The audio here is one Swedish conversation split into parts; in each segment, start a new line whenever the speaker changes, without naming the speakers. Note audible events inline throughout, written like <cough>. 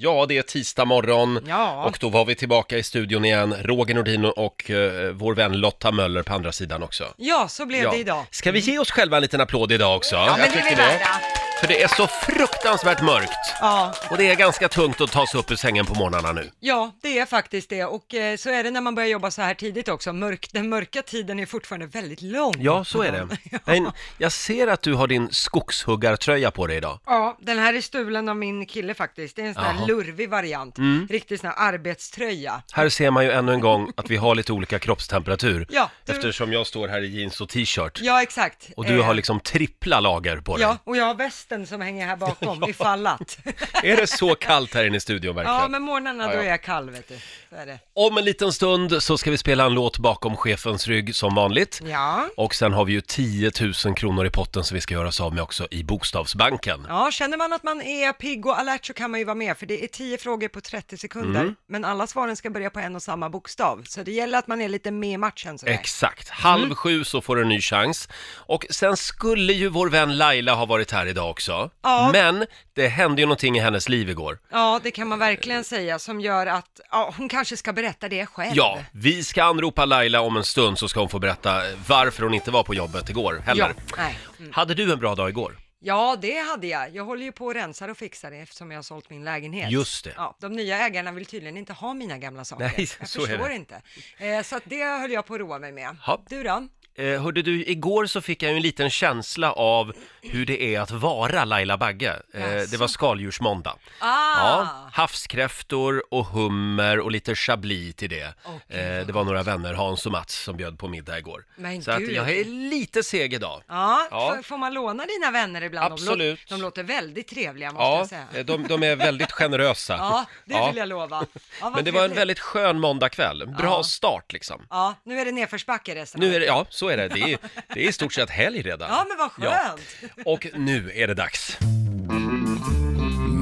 Ja, det är tisdag morgon
Ja.
och då var vi tillbaka i studion igen. Roger Nordin och eh, vår vän Lotta Möller på andra sidan också.
Ja, så blev det idag.
Ska vi ge oss själva en liten applåd idag också?
Ja, men det är vi
tycker
värda.
För det är så fruktansvärt mörkt
Ja,
och det är ganska tungt att ta sig upp ur sängen på morgnarna nu.
ja, det är faktiskt det. Och eh, så är det när man börjar jobba så här tidigt också. Mörk, den mörka tiden är fortfarande väldigt lång.
Ja, så är
<laughs>
det. Men jag ser att du har din skogshuggartröja på dig idag.
Ja, den här är stulen av min kille faktiskt. Det är en sån här
Jaha. Mm.
lurvig variant. Riktig sån här arbetströja.
Här ser man ju ännu en gång att vi har lite olika kroppstemperatur
Ja, du-
eftersom jag står här i jeans och t-shirt
Ja, exakt.
och du
Eh,
har liksom trippla lager på dig.
Ja, och jag har västen som hänger
<laughs>
här bakom ifall att.
Är det så kallt här inne i studion verkligen?
ja, men morgnarna
Ja,
då
ja.
är jag kall, vet du. Så är det.
Om en liten stund så ska vi spela en låt bakom chefens rygg som vanligt.
Ja.
Och sen har vi ju 10 000 kronor i potten som vi ska göra oss av med också i Bokstavsbanken.
Ja, känner man att man är pigg och alert så kan man ju vara med, för det är 10 frågor på 30 sekunder,
Mm.
men alla svaren ska börja på en och samma bokstav, så det gäller att man är lite med i matchen. Sådär.
Exakt, halv
Mm.
sju så får du en ny chans. Och sen skulle ju vår vän Laila ha varit här idag också.
Ja.
Men det hände ju någonting i hennes liv igår.
ja, det kan man verkligen säga, som gör att ja, hon kanske ska berätta det själv.
Ja, vi ska anropa Laila om en stund så ska hon få berätta varför hon inte var på jobbet igår heller.
Ja, Mm. nej.
Hade du en bra dag igår?
ja, det hade jag. Jag håller ju på och rensar och fixar det eftersom jag har sålt min lägenhet.
Just det.
Ja, de nya ägarna vill tydligen inte ha mina gamla saker.
Nej, <laughs>
jag
så är det.
förstår inte. Eh, så att det höll jag på att roa mig med.
Ja.
Du då?
Eh, hörde du, igår så fick jag ju en liten känsla av hur det är att vara Laila Bagge. Eh, det
Jaså?
var skaldjursmåndag.
Ah!
Ja, havskräftor och hummer och lite chablis till det.
Okej.
eh, det var några vänner, Hans och Mats, som bjöd på middag igår.
Men
så att
gud.
jag är lite seg idag.
Ja,
Ja.
f- får man låna dina vänner ibland?
Absolut.
De, låter, de låter väldigt trevliga måste
Ja,
jag säga.
eh, de, de är väldigt generösa.
<laughs> Ja, det vill jag lova. Ja, vad
Men det var en
trevligt.
väldigt skön måndagkväll. Bra
Ja.
start liksom.
Ja, nu är det nedförsbacke resten av
Nu är det, ja, så är det. Det är, det är i stort sett helg redan.
Ja, men vad
Ja.
skönt!
Och nu är det dags.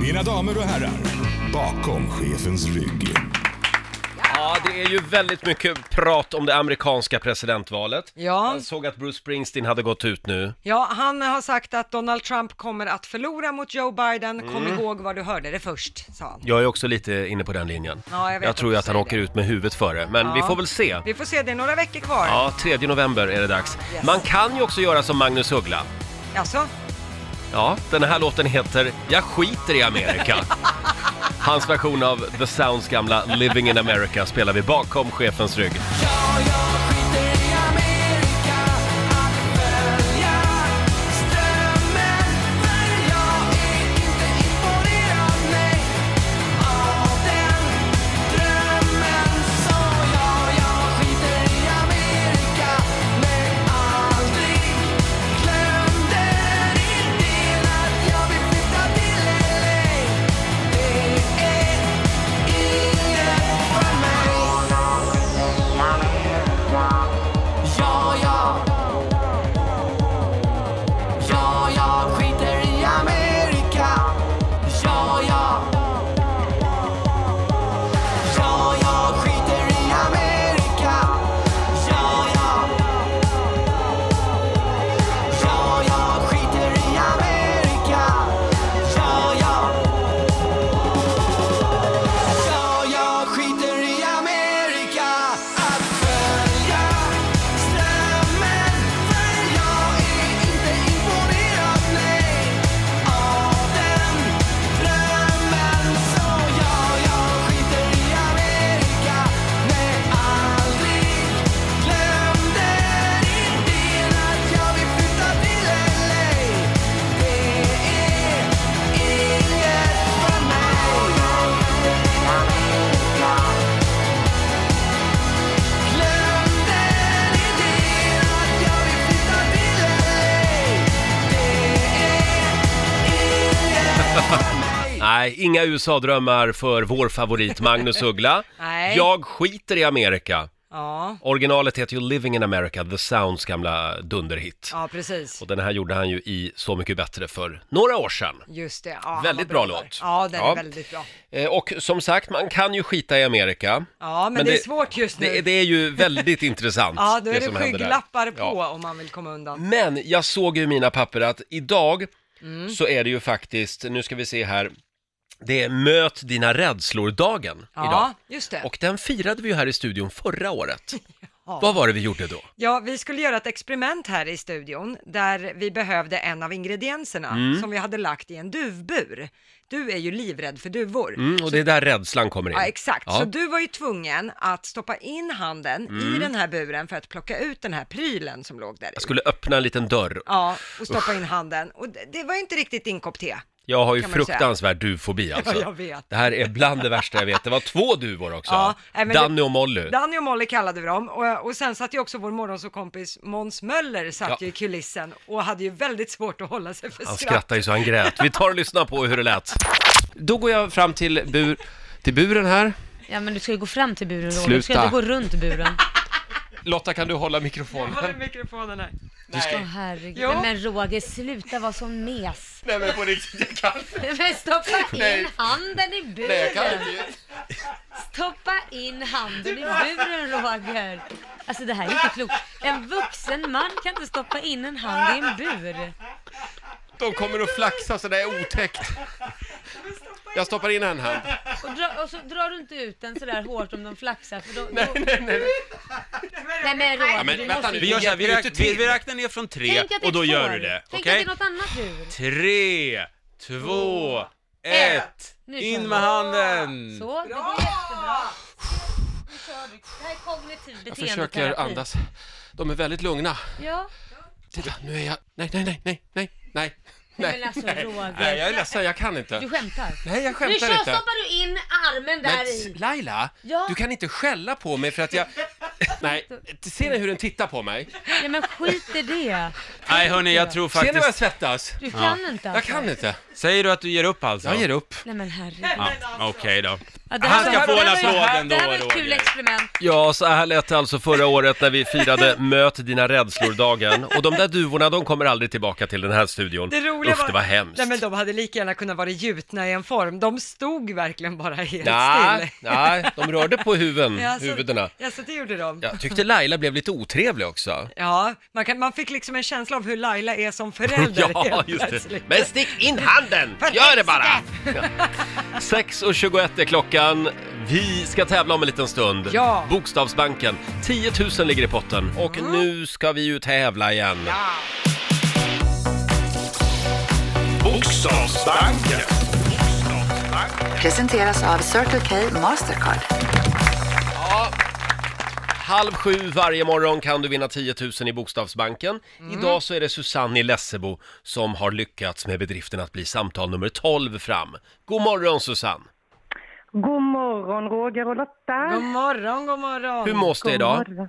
Mina damer och herrar, bakom chefens rygg.
Ja, det är ju väldigt mycket prat om det amerikanska presidentvalet.
Ja.
Jag såg att Bruce Springsteen hade gått ut nu.
Ja, han har sagt att Donald Trump kommer att förlora mot Joe Biden. Kom
Mm.
ihåg var du hörde det först, sa han.
Jag är också lite inne på den linjen.
Ja, jag vet
tror ju att
också
han åker
det.
ut med huvudet före, men
Ja.
vi får väl se.
Vi får se, det är några veckor kvar.
Ja, 3 november är det dags.
Yes.
Man kan ju också göra som Magnus Uggla.
Alltså,
Ja, den här låten heter Jag skiter i Amerika.
<laughs>
Hans version av The Sounds gamla Living in America spelar vi bakom chefens rygg.
Ja, ja. Ja, jag skiter i Amerika. Ja, ja. Ja, jag skiter i Amerika. Ja, ja. Ja, jag skiter i Amerika. Ja, ja. Ja, Alltså, jag skiter i Amerika. Att följa strömmen, för jag är inte imponerad, nej, av den drömmen. Så ja, jag skiter i Amerika. Nej, aldrig glömde idén att jag vill flytta till LA. Det är inget för mig. Glömde idén att jag vill flytta till LA.
Nej, inga USA-drömmar för vår favorit Magnus Uggla.
Nej.
Jag skiter i Amerika.
ja,
Originalet heter ju Living in America, The Sounds gamla dunderhit.
ja precis.
Och den här gjorde han ju i Så mycket bättre för några år sedan.
Just det. Ja, han
Väldigt
var bra
bra
där.
låt.
Ja, den
Ja.
är väldigt bra.
Eh, Och som sagt, man kan ju skita i Amerika.
Ja, men, det, är svårt just nu.
Det, det är ju väldigt <laughs> intressant.
ja, då är det,
som händer där.
skygglappar på
Ja.
om man vill komma undan.
Men jag
Mm.
såg ju i mina papper att idag så är det ju faktiskt, nu ska vi se här, Det är Möt dina rädslor-dagen idag.
Ja, just det.
Och den firade vi ju här i studion förra året.
<laughs> Ja.
Vad var det vi gjorde då?
Ja, vi skulle göra ett experiment här i studion där vi behövde en av ingredienserna
Mm.
som vi hade lagt i en duvbur. Du är ju livrädd för duvor.
Mm, och det är där rädslan kommer in.
Ja, exakt.
Ja.
Så du var ju tvungen att stoppa in handen
Mm.
i den här buren för att plocka ut den här prylen som låg där. i.
Jag skulle öppna en liten dörr.
Ja, och stoppa in handen. Och det, det var ju inte riktigt din kopp te.
Jag har ju
kan man ju
fruktansvärd duvfobi alltså.
Ja, jag vet.
Det här är bland det värsta jag vet. Det var två duvor också.
Ja, nej, men
Danny
det-
och Molly.
Danny och Molly kallade vi dem och, och sen satt ju också vår morgonsåkompis Måns Möller satt
Ja.
ju i kulissen och hade ju väldigt svårt att hålla sig för
Han
skratt.
skrattar ju så han grät. Vi tar och lyssnar på hur det lät. Då går jag fram till, bur, till buren här.
Ja men du ska ju gå fram till buren Roger, du ska
Sluta.
inte gå runt buren.
<laughs>
Lotta, kan du hålla mikrofonen?
Håller mikrofonen här.
Åh herregud.
Jo.
Nej, men Roger, sluta vara som mes. <laughs>
Nej men på riktigt, jag kan
Men stoppa in handen i buren.
inte.
Stoppa in handen i buren Roger. Alltså det här är inte klokt. En vuxen man kan inte stoppa in en hand i en bur.
De kommer att flaxa så det är otäckt. Jag stoppar in en hand.
Och, dra, och så drar du inte ut den sådär hårt om de flaxar för då... då...
Nej, nej, nej.
Nej men Roger,
Ja,
du
men
måste
vänta nu,
ju-
vi, gör så här, vi, räknar, vi, vi räknar ner från tre
Tänk att det är
och då
ett
gör
får.
du det.
Tänk
Okej?
att det är något annat bur.
Tre, två, ett.
Nu kör vi.
In med handen.
Så, det går jättebra. Nu kör vi. Det här är kognitiv
Jag
beteendeterapi.
försöker andas. De är väldigt lugna.
Ja.
Titta, nu är jag... Nej, nej, nej, nej, nej, nej.
Nej, men alltså,
nej.
Roger.
nej, jag är ledsen, jag kan inte.
Du skämtar?
Nej, jag
Nu
skämtar
kör,
inte.
stoppar du in armen där
Men
i.
Laila,
Ja.
du kan inte skälla på mig för att jag... <laughs> Nej, ser ni hur den tittar på mig?
Ja men skit i det.
Nej hörni, jag tror
Ser ni vad jag
faktiskt...
svettas?
Du kan inte
Jag
alltså.
kan inte.
Säger du att du ger upp alltså?
Jag ger upp.
Nej men herregud.
Ja, Okej då.
Ja, det
Han
var-
ska få
det
en
var ju-
applåd ändå,
Det här var ett kul
Roger.
experiment.
Ja, så här lät det alltså förra året när vi firade Möt dina rädslor-dagen. Och de där duvorna, de kommer aldrig tillbaka till den här studion.
Det roliga
Usch, det var hemskt.
Nej men de hade lika gärna kunnat vara gjutna i en form. De stod verkligen bara helt
Nej,
still.
nej, de rörde på huvuden,
<laughs> Ja, alltså- så-
huvudena.
Ja, så det gjorde de. Ja.
Jag tyckte Laila blev lite otrevlig också.
man, kan, man fick liksom en känsla av hur Laila är som förälder
<laughs> Ja,
helt
just det.
plötsligt.
Men stick in handen! Gör det bara! 6.21 är klockan. Vi ska tävla om en liten stund.
Ja.
Bokstavsbanken. 10 000 ligger i potten. Och nu ska vi ju tävla igen.
Bokstavsbanken.
Presenteras av Circle K Mastercard.
Halv sju varje morgon kan du vinna 10 000 i Bokstavsbanken.
Mm.
Idag så är det Susanne i Lessebo som har lyckats med bedriften att bli samtal nummer 12 fram. God morgon Susanne!
God morgon Roger och Lotta.
God morgon, god morgon.
Hur mås det idag?
morgon.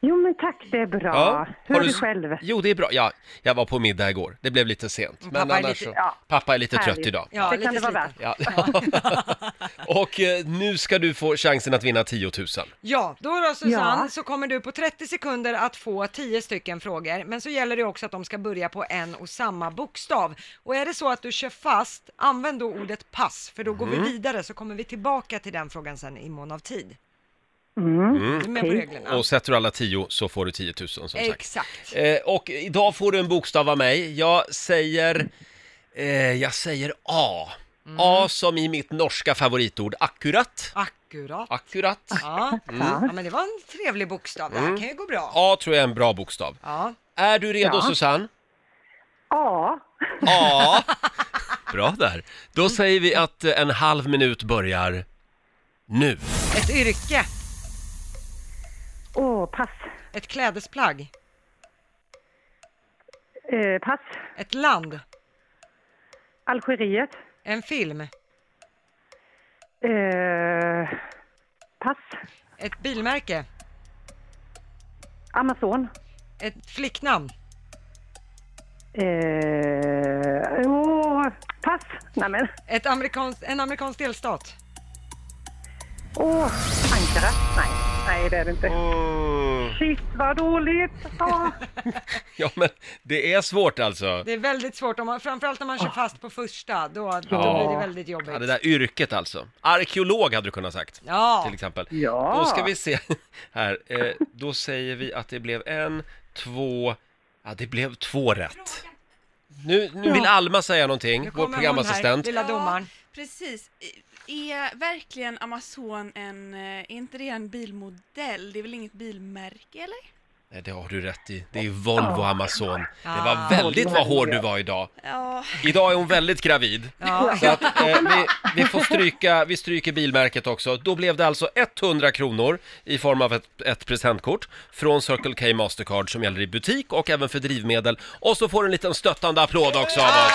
Jo men tack, det är bra. Hur
Har
är du
s-
själv?
Jo, det är bra. Ja, jag var på middag igår. Det blev lite sent. Men
Pappa är
annars
lite-
så...
ja.
Pappa är lite trött
Härligt.
idag.
Ja,
det
lite
kan det vara
sliten.
värt.
Ja. <laughs> och eh, nu ska du få chansen att vinna 10 000.
Ja, då då Susanne
Ja.
så kommer du på 30 sekunder att få 10 stycken frågor, men så gäller det också att de ska börja på en och samma bokstav. Och är det så att du kör fast, använd då ordet pass, för då går
Mm.
vi vidare så kommer vi tillbaka till den frågan sen i mån av tid. Mm, du är med på
okej.
reglerna?
Och sätter du alla 10 så får du 10 000 som sagt.
Exakt.
Eh, och idag får du en bokstav av mig. Jag säger... Eh, jag säger A. A som i mitt norska favoritord akkurat.
Akkurat.
Akkurat.
Ja. Mm. ja, men det var en trevlig bokstav. Det
Mm.
här kan ju gå bra.
A tror jag är en bra bokstav.
Ja.
Är du redo
Ja.
Susanne?
Ja,
Ja. Bra där. Då säger vi att eh, en halv minut börjar nu. <laughs>
Ett yrke,
åh pass.
ett klädesplagg,
Eh, pass.
ett land,
Algeriet.
en film,
Eh, pass.
ett bilmärke,
Amazon.
ett flicknamn.
Eh, åh, pass. Nej men,
Ett amerikans, en amerikansk delstat.
åh, Ankara. Nej, nej det är det inte.
Mm.
Shit vad dåligt. Ja.
Ja, men det är svårt alltså.
Det är väldigt svårt, om man, framförallt när man kör fast på första, då, då blir det väldigt jobbigt.
Ah. Ja, det där yrket alltså. Arkeolog hade du kunnat sagt.
Ja,
Till exempel.
Ja.
Då ska vi se <laughs> här. Eh, då säger vi att det blev en, två, ja det blev två rätt. Nu, nu vill Alma säga någonting,
nu
vår
kommer hon här,
programassistent.
lilla domaren.
Precis. I- Är verkligen Amazon en, eh, är inte det en bilmodell? Det är väl inget bilmärke eller?
Nej, det har du rätt i. Det är Volvo Amazon. Det var väldigt vad hård du var idag.
Ja,
Idag är hon väldigt gravid.
Ja.
Så att,
<laughs>
eh, vi, vi får stryka, vi stryker bilmärket också. Då blev det alltså 100 kronor i form av ett, ett presentkort från Circle K Mastercard som gäller i butik och även för drivmedel. Och så får du en liten stöttande applåd också av oss.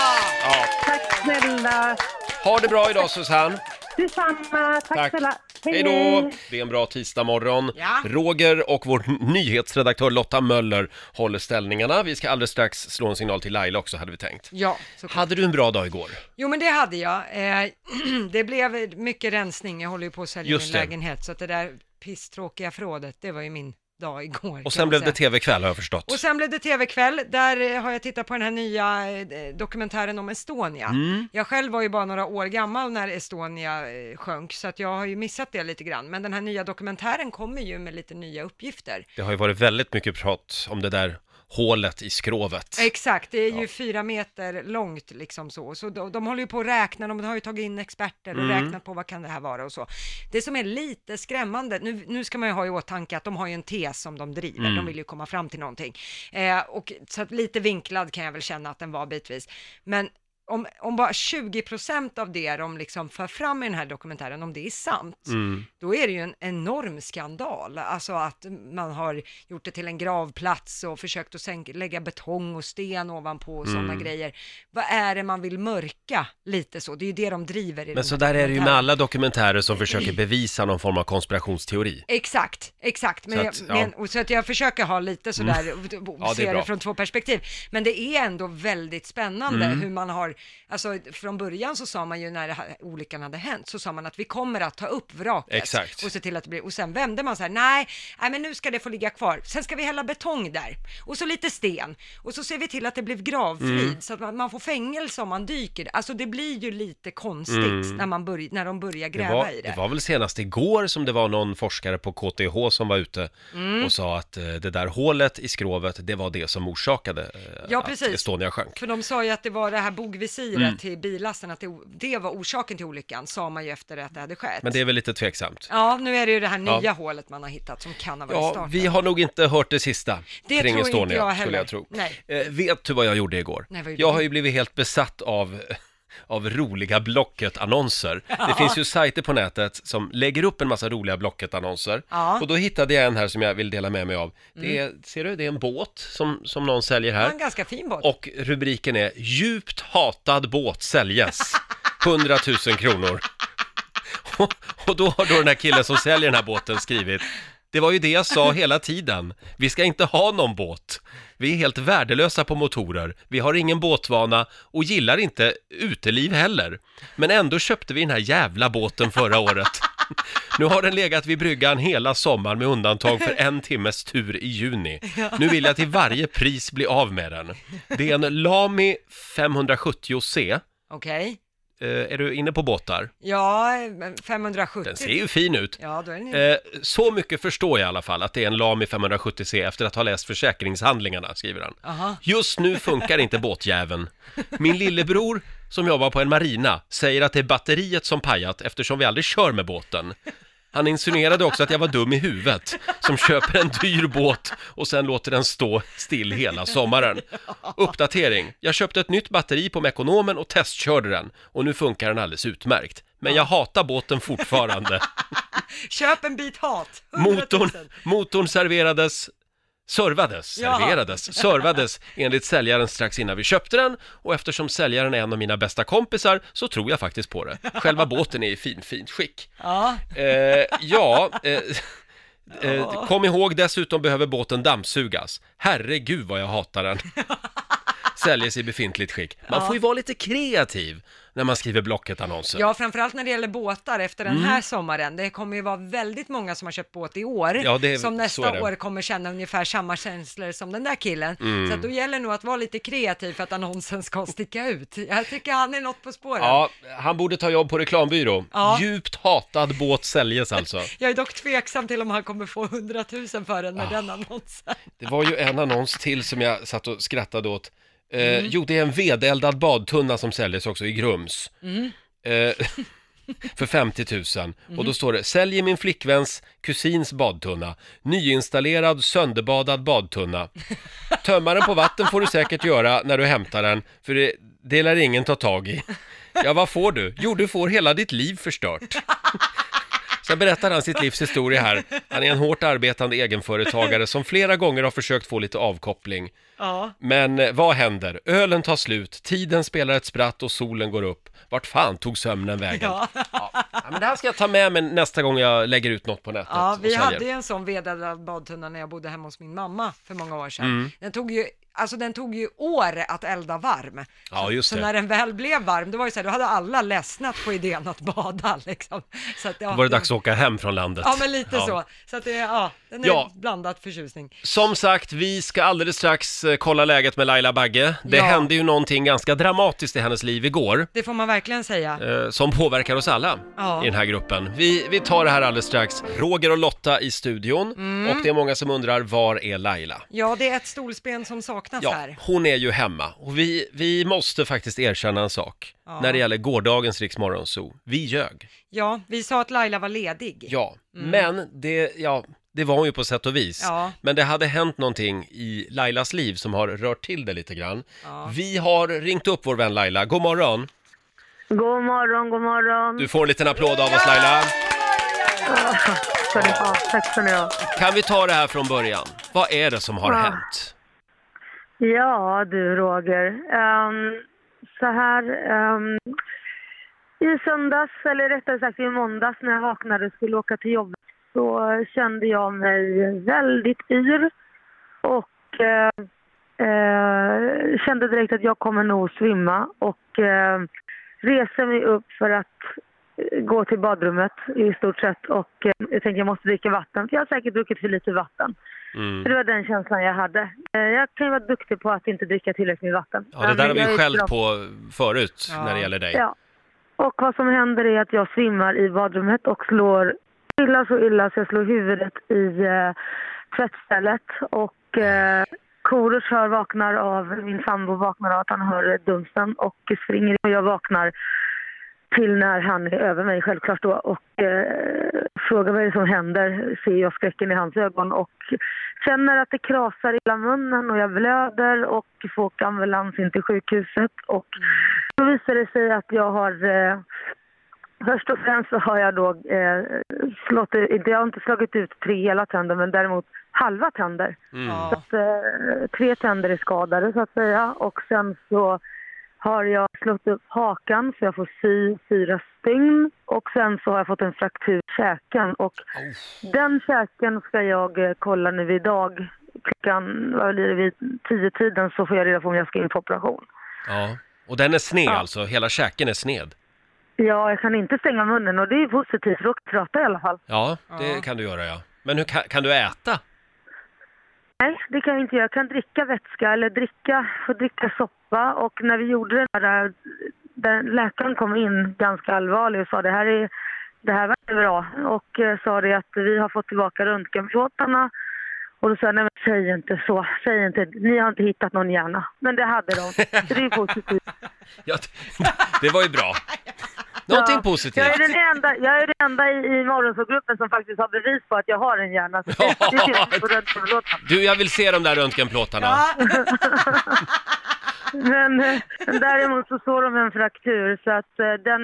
Tack snälla.
Ha det bra idag Susanne!
Detsamma. Tack,
Tack.
snälla.
Hej då! Det är en bra tisdagmorgon.
Ja.
Roger och vår nyhetsredaktör Lotta Möller håller ställningarna. Vi ska alldeles strax slå en signal till Laila också hade vi tänkt.
Ja, så
Hade du en bra dag igår?
Jo men det hade jag. Eh, <clears throat> det blev mycket rensning, jag håller ju på att sälja
Just
min
det.
lägenhet så att det där pisstråkiga förrådet, det var ju min dag igår. kan
Och
man
sen blev
säga.
det tv-kväll har jag förstått.
Och sen blev det tv-kväll, där eh, har jag tittat på den här nya eh, dokumentären om Estonia. Jag själv var ju bara några år gammal när Estonia eh, sjönk, så att jag har ju missat det lite grann. Men den här nya dokumentären kommer ju med lite nya uppgifter.
Det har ju varit väldigt mycket prat om det där hålet i skrovet.
Exakt, det är ju fyra meter långt liksom så. Så de, de håller ju på att räkna, de har ju tagit in experter och räknat på vad kan det här vara och så. Det som är lite skrämmande, nu, nu ska man ju ha i åtanke att de har ju en tes som de driver, de vill ju komma fram till någonting. Eh, och, så att lite vinklad kan jag väl känna att den var bitvis. Men om, om bara 20% av det de liksom för fram i den här dokumentären, om det är sant,
Mm.
då är det ju en enorm skandal. Alltså att man har gjort det till en gravplats och försökt att sänka, lägga betong och sten ovanpå och
Mm.
sådana grejer. Vad är det man vill mörka lite så? Det är ju det de driver i den här
Men så där är det ju med
dokumentären.
alla dokumentärer som försöker bevisa någon form av konspirationsteori.
Exakt, exakt. Men
Så
så,
att,
jag,
ja. Mm.
men, och så att jag försöker ha lite sådär, och, och,
Ja, det är
se det,
bra.
från två perspektiv. Men det är ändå väldigt spännande
Mm.
hur man har, alltså från början så sa man ju när det här, olyckan hade hänt, så sa man att vi kommer att ta upp vraket
Exakt.
och se till att det blir, och sen vände man så här, nej, nej men nu ska det få ligga kvar, sen ska vi hälla betong där, och så lite sten, och så ser vi till att det blir gravfrid,
Mm.
så att man, man får fängelse om man dyker. Alltså det blir ju lite konstigt när, man börj, när de börjar
Mm. Det
gräva
var,
i det.
det var väl senast igår som det var någon forskare på KTH som var ute
Mm.
och sa att eh, det där hålet i skrovet, det var det som orsakade eh,
Ja,
att
precis.
Estonia sjönk.
För de sa ju att det var det här bogvisiret
Mm.
till billasten, att det, det var orsaken till olyckan, sa man ju efter att det hade skett.
Men det är väl lite tveksamt.
Ja, nu är det ju det här nya
Ja.
hålet man har hittat som kan ha varit
Ja,
starten.
vi har nog inte hört det sista
Det
kring
tror inte
Estonia,
jag
skulle jag
heller.
tro.
Nej.
Eh, vet du vad jag gjorde igår?
Nej, vad gjorde
jag
du?
har ju blivit helt besatt av <laughs> av roliga
<laughs>
Blocket-annonser. Det finns ju sajter på nätet som lägger upp en massa roliga Blocket-annonser.
Ja.
Och då hittade jag en här som jag vill dela med mig av. Det är, ser du, det är en båt som, som någon säljer
Det
här.
var en ganska fin båt.
Och rubriken är “Djupt hatad båt säljes, 100 000 kronor”. Och, och då har då den här killen som säljer den här båten skrivit “Det var ju det jag sa hela tiden, vi ska inte ha någon båt. Vi är helt värdelösa på motorer, vi har ingen båtvana och gillar inte uteliv heller. Men ändå köpte vi den här jävla båten förra året. Nu har den legat vid bryggan hela sommaren med undantag för en timmes tur i juni. Nu vill jag till varje pris bli av med den. Det är en Lami 570C.
Okej.
Eh, är du inne på båtar?
Ja, men 570.
Den ser ju fin ut.
Ja, då är den ju...
Eh, så mycket förstår jag i alla fall att det är en Lami 570C efter att ha läst försäkringshandlingarna, skriver han.
Aha.
Just nu funkar inte båtjäveln. Min lillebror som jobbar på en marina säger att det är batteriet som pajat eftersom vi aldrig kör med båten. Han insinuerade också att jag var dum i huvudet som köper en dyr båt och sen låter den stå still hela sommaren. Uppdatering. Jag köpte ett nytt batteri på Mekonomen och testkörde den och nu funkar den alldeles utmärkt. Men jag hatar båten fortfarande.
Köp en bit hat. 100 000.
Motorn, motorn serverades, servades,
Jaha.
serverades,
<laughs>
servades enligt säljaren strax innan vi köpte den och eftersom säljaren är en av mina bästa kompisar så tror jag faktiskt på det. Själva båten är i fin, fint skick.
Ja,
Eh, ja, eh, eh, kom ihåg dessutom behöver båten dammsugas. Herregud vad jag hatar
<laughs>
den. Säljes i befintligt skick. Man får ju vara lite kreativ när man skriver Blocket-annonser.
ja, framförallt när det gäller båtar efter
Mm.
den här sommaren. Det kommer ju vara väldigt många som har köpt båt i år,
Ja, det är-
som
så är det.
nästa år kommer känna ungefär samma känslor som den där killen.
Mm.
Så att då gäller nog att vara lite kreativ för att annonsen ska <laughs> sticka ut. Jag tycker han är något på spåren.
Ja, han borde ta jobb på reklambyrå.
Ja.
Djupt hatad båt säljes alltså.
Jag är dock tveksam till om han kommer få 100 000 för den med den annonsen.
Det var ju en annons till som jag satt och skrattade åt. Eh, Jo, det är en vedeldad badtunna som säljs också i Grums. eh, <laughs> för 50 000. Och då står det, säljer min flickväns kusins badtunna. Nyinstallerad sönderbadad badtunna. Tömma den på vatten får du säkert göra när du hämtar den, för det, det lär ingen ta tag i. Ja, vad får du? Jo, du får hela ditt liv förstört. Sen berättar han sitt livs historia här. Han är en hårt arbetande egenföretagare som flera gånger har försökt få lite avkoppling.
Ja.
Men eh, vad händer? Ölen tar slut, tiden spelar ett spratt och solen går upp. Vart fan tog sömnen vägen? Ja. men det här ska jag ta med mig nästa gång jag lägger ut något på nätet.
Ja,
och
vi
säljer.
hade ju en sån vedeldad badtunna när jag bodde hemma hos min mamma för många år sedan.
Mm.
Den tog ju Alltså den tog ju år att elda varm.
Ja, just
så
det.
när den väl blev varm, det var ju så här, då hade alla ledsnat på idén att bada <laughs> liksom. Så att, ja,
Då var det dags att åka hem från landet.
Ja, men lite
Ja.
så. Så att det, ja, den är
Ja.
blandad förtjusning.
Som sagt, vi ska alldeles strax eh, kolla läget med Laila Bagge. Det
Ja.
hände ju någonting ganska dramatiskt i hennes liv igår.
Det får man verkligen säga.
eh, som påverkar oss alla
Ja.
i den här gruppen. Vi, vi tar det här alldeles strax. Roger och Lotta i studion
Mm.
och det är många som undrar var är Laila?
Ja, det är ett stolsben som saknas
Ja,
här.
hon är ju hemma och vi, vi måste faktiskt erkänna en sak
Ja.
när det gäller gårdagens Riksmorgonzoo. Vi ljög.
Ja, vi sa att Laila var ledig.
Ja, men det, ja, det var hon ju på sätt och vis.
Mm. Ja.
Men det hade hänt någonting i Lailas liv som har rört till det lite grann.
Ja.
Vi har ringt upp vår vän Laila. God morgon!
God morgon, god morgon.
Du får en liten applåd av oss Laila.
Ska ni ha. Tack ska ni ha.
Kan vi ta det här från början? Vad är det som har
Ja.
hänt?
Ja du Roger. Ehm, så här, ehm, i söndags, eller rättare sagt i måndags när jag vaknade och skulle åka till jobbet så kände jag mig väldigt yr och eh, eh, kände direkt att jag kommer nog svimma och eh, reser mig upp för att eh, gå till badrummet i stort sett och eh, jag tänkte jag måste dricka vatten för jag har säkert druckit för lite vatten.
Mm.
För Det var den känslan jag hade. Eh, Jag kan ju vara duktig på att inte dricka tillräckligt med vatten.
Ja, det där har
Men
vi
jag
ju
är
skällt
bra-
på förut
Ja.
när det gäller dig.
Ja. Och vad som händer är att jag svimmar i badrummet och slår illa så illa så jag slår huvudet i eh, tvättstället. Och eh, Korosh hör vaknar av, min sambo vaknar av att han hör dunsen och springer in och jag vaknar till när han är över mig självklart då och eh, frågar vad det är som händer. Ser jag skräcken i hans ögon och känner att det krasar i hela munnen och jag blöder och får åka ambulans in till sjukhuset. Och då visar det sig att jag har eh, Först och främst så har jag då eh, slått, ut- jag har inte slagit ut tre hela tänder men däremot halva tänder.
Mm.
Så
Ja. <laughs>
att, eh, tre tänder är skadade så att säga och sen så har jag slått upp hakan så jag får sy fyra stygn och sen så har jag fått en fraktur i käken och den käken ska jag eh, kolla nu idag. Klockan, vad blir det, vid tio tiden så får jag reda på om jag ska in på operation.
Ja. Och den är sned
Ja.
alltså, hela käken är sned.
Ja, jag kan inte stänga munnen och det är positivt för då kan jag prata i alla fall.
Ja, det
Ja.
kan du göra ja. Men hur kan, kan du äta?
Nej, det kan jag inte göra. Jag kan dricka vätska eller dricka, få dricka soppa. Och när vi gjorde det där, där läkaren kom in ganska allvarlig och sa det här, är, det här var inte bra. Och eh, sa det att vi har fått tillbaka röntgenplåtarna. Och då sa jag, nej men säg inte så, säg inte, ni har inte hittat någon hjärna. Men det hade de, så det är positivt.
Ja,
<laughs>
det- det var ju bra. Någonting
Ja.
positivt.
Jag är den enda, jag är den enda i, i morgonsågruppen som faktiskt har bevis på att jag har en hjärna. Så det, det syns på röntgenplåtarna.
Du, jag vill se de där röntgenplåtarna.
Men eh, men däremot så såg de en fraktur så att eh, den,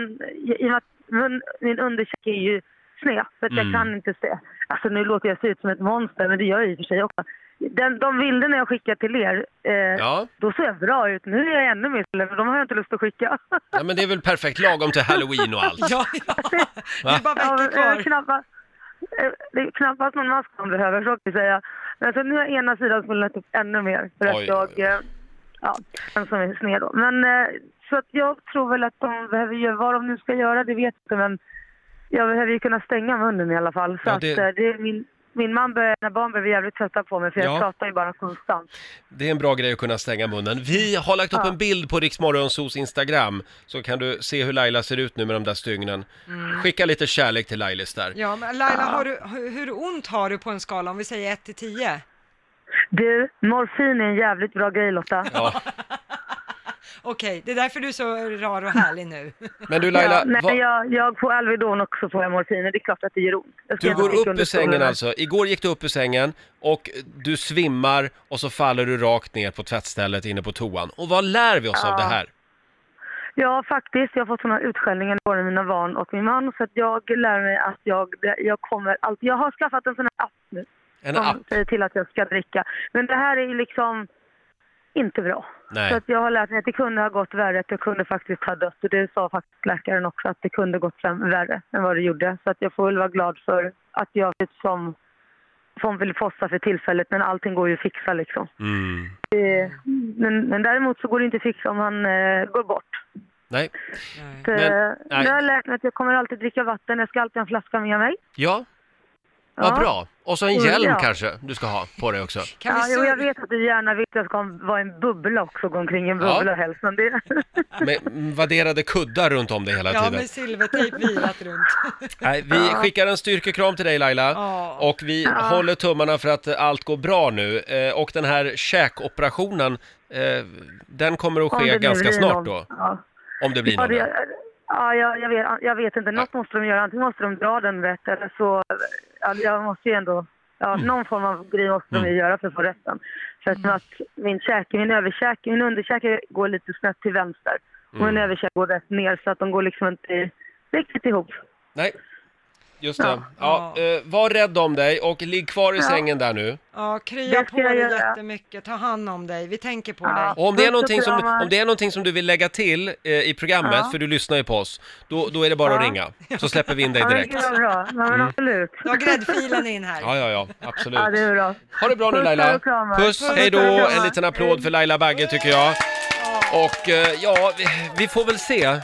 i och med att mun, min underkäke är ju sned så att
Mm.
jag kan inte se. Alltså nu låter jag se ut som ett monster men det gör jag i och för sig också. Den, de bilderna jag skickade till er, eh,
Ja.
då ser jag bra ut. Nu är jag ännu mer snäll, för de har jag inte lust att skicka. <laughs>
ja, men det är väl perfekt lagom till halloween och allt.
Ja, ja. Det är bara
Ja,
veckor
men, eh,
kvar.
knappast, eh, det är knappast någon mask man behöver, så kan jag säga. Men alltså, nu har ena sidan svullnat upp ännu mer för
Oj,
att jag...
oj, oj.
eh, Ja, den som är sned då. Men eh, så att jag tror väl att de behöver göra, vad de nu ska göra det vet jag inte men jag behöver ju kunna stänga munnen i alla fall. Så
Ja,
att
det-
eh, det är min, min man börjar, när barn börjar bli jävligt trötta på mig för jag
Ja.
pratar ju bara konstant.
Det är en bra grej att kunna stänga munnen. Vi har lagt upp
Ja.
en bild på Riksmorgonsos Instagram så kan du se hur Laila ser ut nu med de där stygnen.
Mm.
Skicka lite kärlek till Lailis där.
Ja, men Laila, har du, hur- hur ont har du på en skala om vi säger 1 till 10?
Du, morfin är en jävligt bra grej Lotta.
Ja,
Okej, det är därför du är så rar och
<laughs>
härlig nu.
Men du Laila,
ja, nej,
vad-
jag, jag får Alvedon också får jag morfin och det är klart att det gör ont. Jag ska
du
gärna
går
sticka
upp
under
ur sängen
stolarna.
alltså. Igår gick du upp ur sängen och du svimmar och så faller du rakt ner på tvättstället inne på toan. Och vad lär vi oss av det här?
Ja, faktiskt. Jag har fått såna utskällningar både av mina barn och min man. Så att jag lär mig att jag, jag kommer alltid... Jag har skaffat en sån här app nu.
En
som
app?
säger till att jag ska dricka. Men det här är ju liksom inte bra.
Nej.
Så att jag har lärt mig att det kunde ha gått värre, att jag kunde faktiskt ha dött. Och det sa faktiskt läkaren också, att det kunde gått fram värre än vad det gjorde. Så att jag får väl vara glad för att jag ser ut som Pomperipossa för tillfället, men allting går ju att fixa liksom.
Mm.
Det, men, men däremot så går det inte att fixa om han eh, går bort.
Nej.
Så,
Men-
eh,
nej.
Jag har lärt mig att jag kommer alltid dricka vatten, jag ska alltid ha en flaska med mig.
Ja,
Ja.
vad bra. Och så en
Mm,
hjälm
ja.
kanske du ska ha på dig också.
Kan
ja,
vi
jo,
sur-
jag vet att du gärna vill att jag ska vara en bubbla också, gå omkring i en
Ja.
bubbla helst. Men det...
Med vadderade kuddar runt om dig hela
Ja,
tiden.
med silvertejp
<laughs>
vilat runt.
Nej, vi skickar en styrkekram till dig Laila
Ja.
och vi håller tummarna för att eh, allt går bra nu. Eh, Och den här käkoperationen, eh, den kommer att
Om det
ske
nu
ganska
blir
snart
någon.
då,
Ja,
om det blir
ja,
någon.
det,
där.
ja jag, jag, vet, jag vet inte. Något måste de göra. Antingen måste de dra den rätt eller så... Ja, jag måste ju ändå... Ja,
Mm.
Någon form av grej måste de ju göra för att få rätten. För att, att min käke, min överkäke, min underkäke går lite snett till vänster. Och
Mm.
min överkäke går rätt ner så att de går liksom inte riktigt ihop.
Nej, just det. Ja, eh, var rädd om dig och ligg kvar i sängen där nu.
Ja, krya
Det ska
på
jag
dig
göra.
jättemycket. Ta hand om dig. Vi tänker på
Ja.
dig.
Och om det, är
Puss och
någonting som,
kramar.
om det är någonting som du vill lägga till eh, i programmet, för du lyssnar ju på oss, då, då är det bara att
Ja.
ringa. Så släpper vi in dig
Ja, men
direkt. Mm.
det är bra. Ja, men absolut.
Du har gräddfilen in här.
Ja, ja, ja, absolut.
Ja, det är bra.
Ha det bra nu
Puss
Laila.
och kramar.
Puss, hej då.
och kramar.
En liten applåd för Laila Bagge tycker jag. Och eh, ja, vi, vi får väl se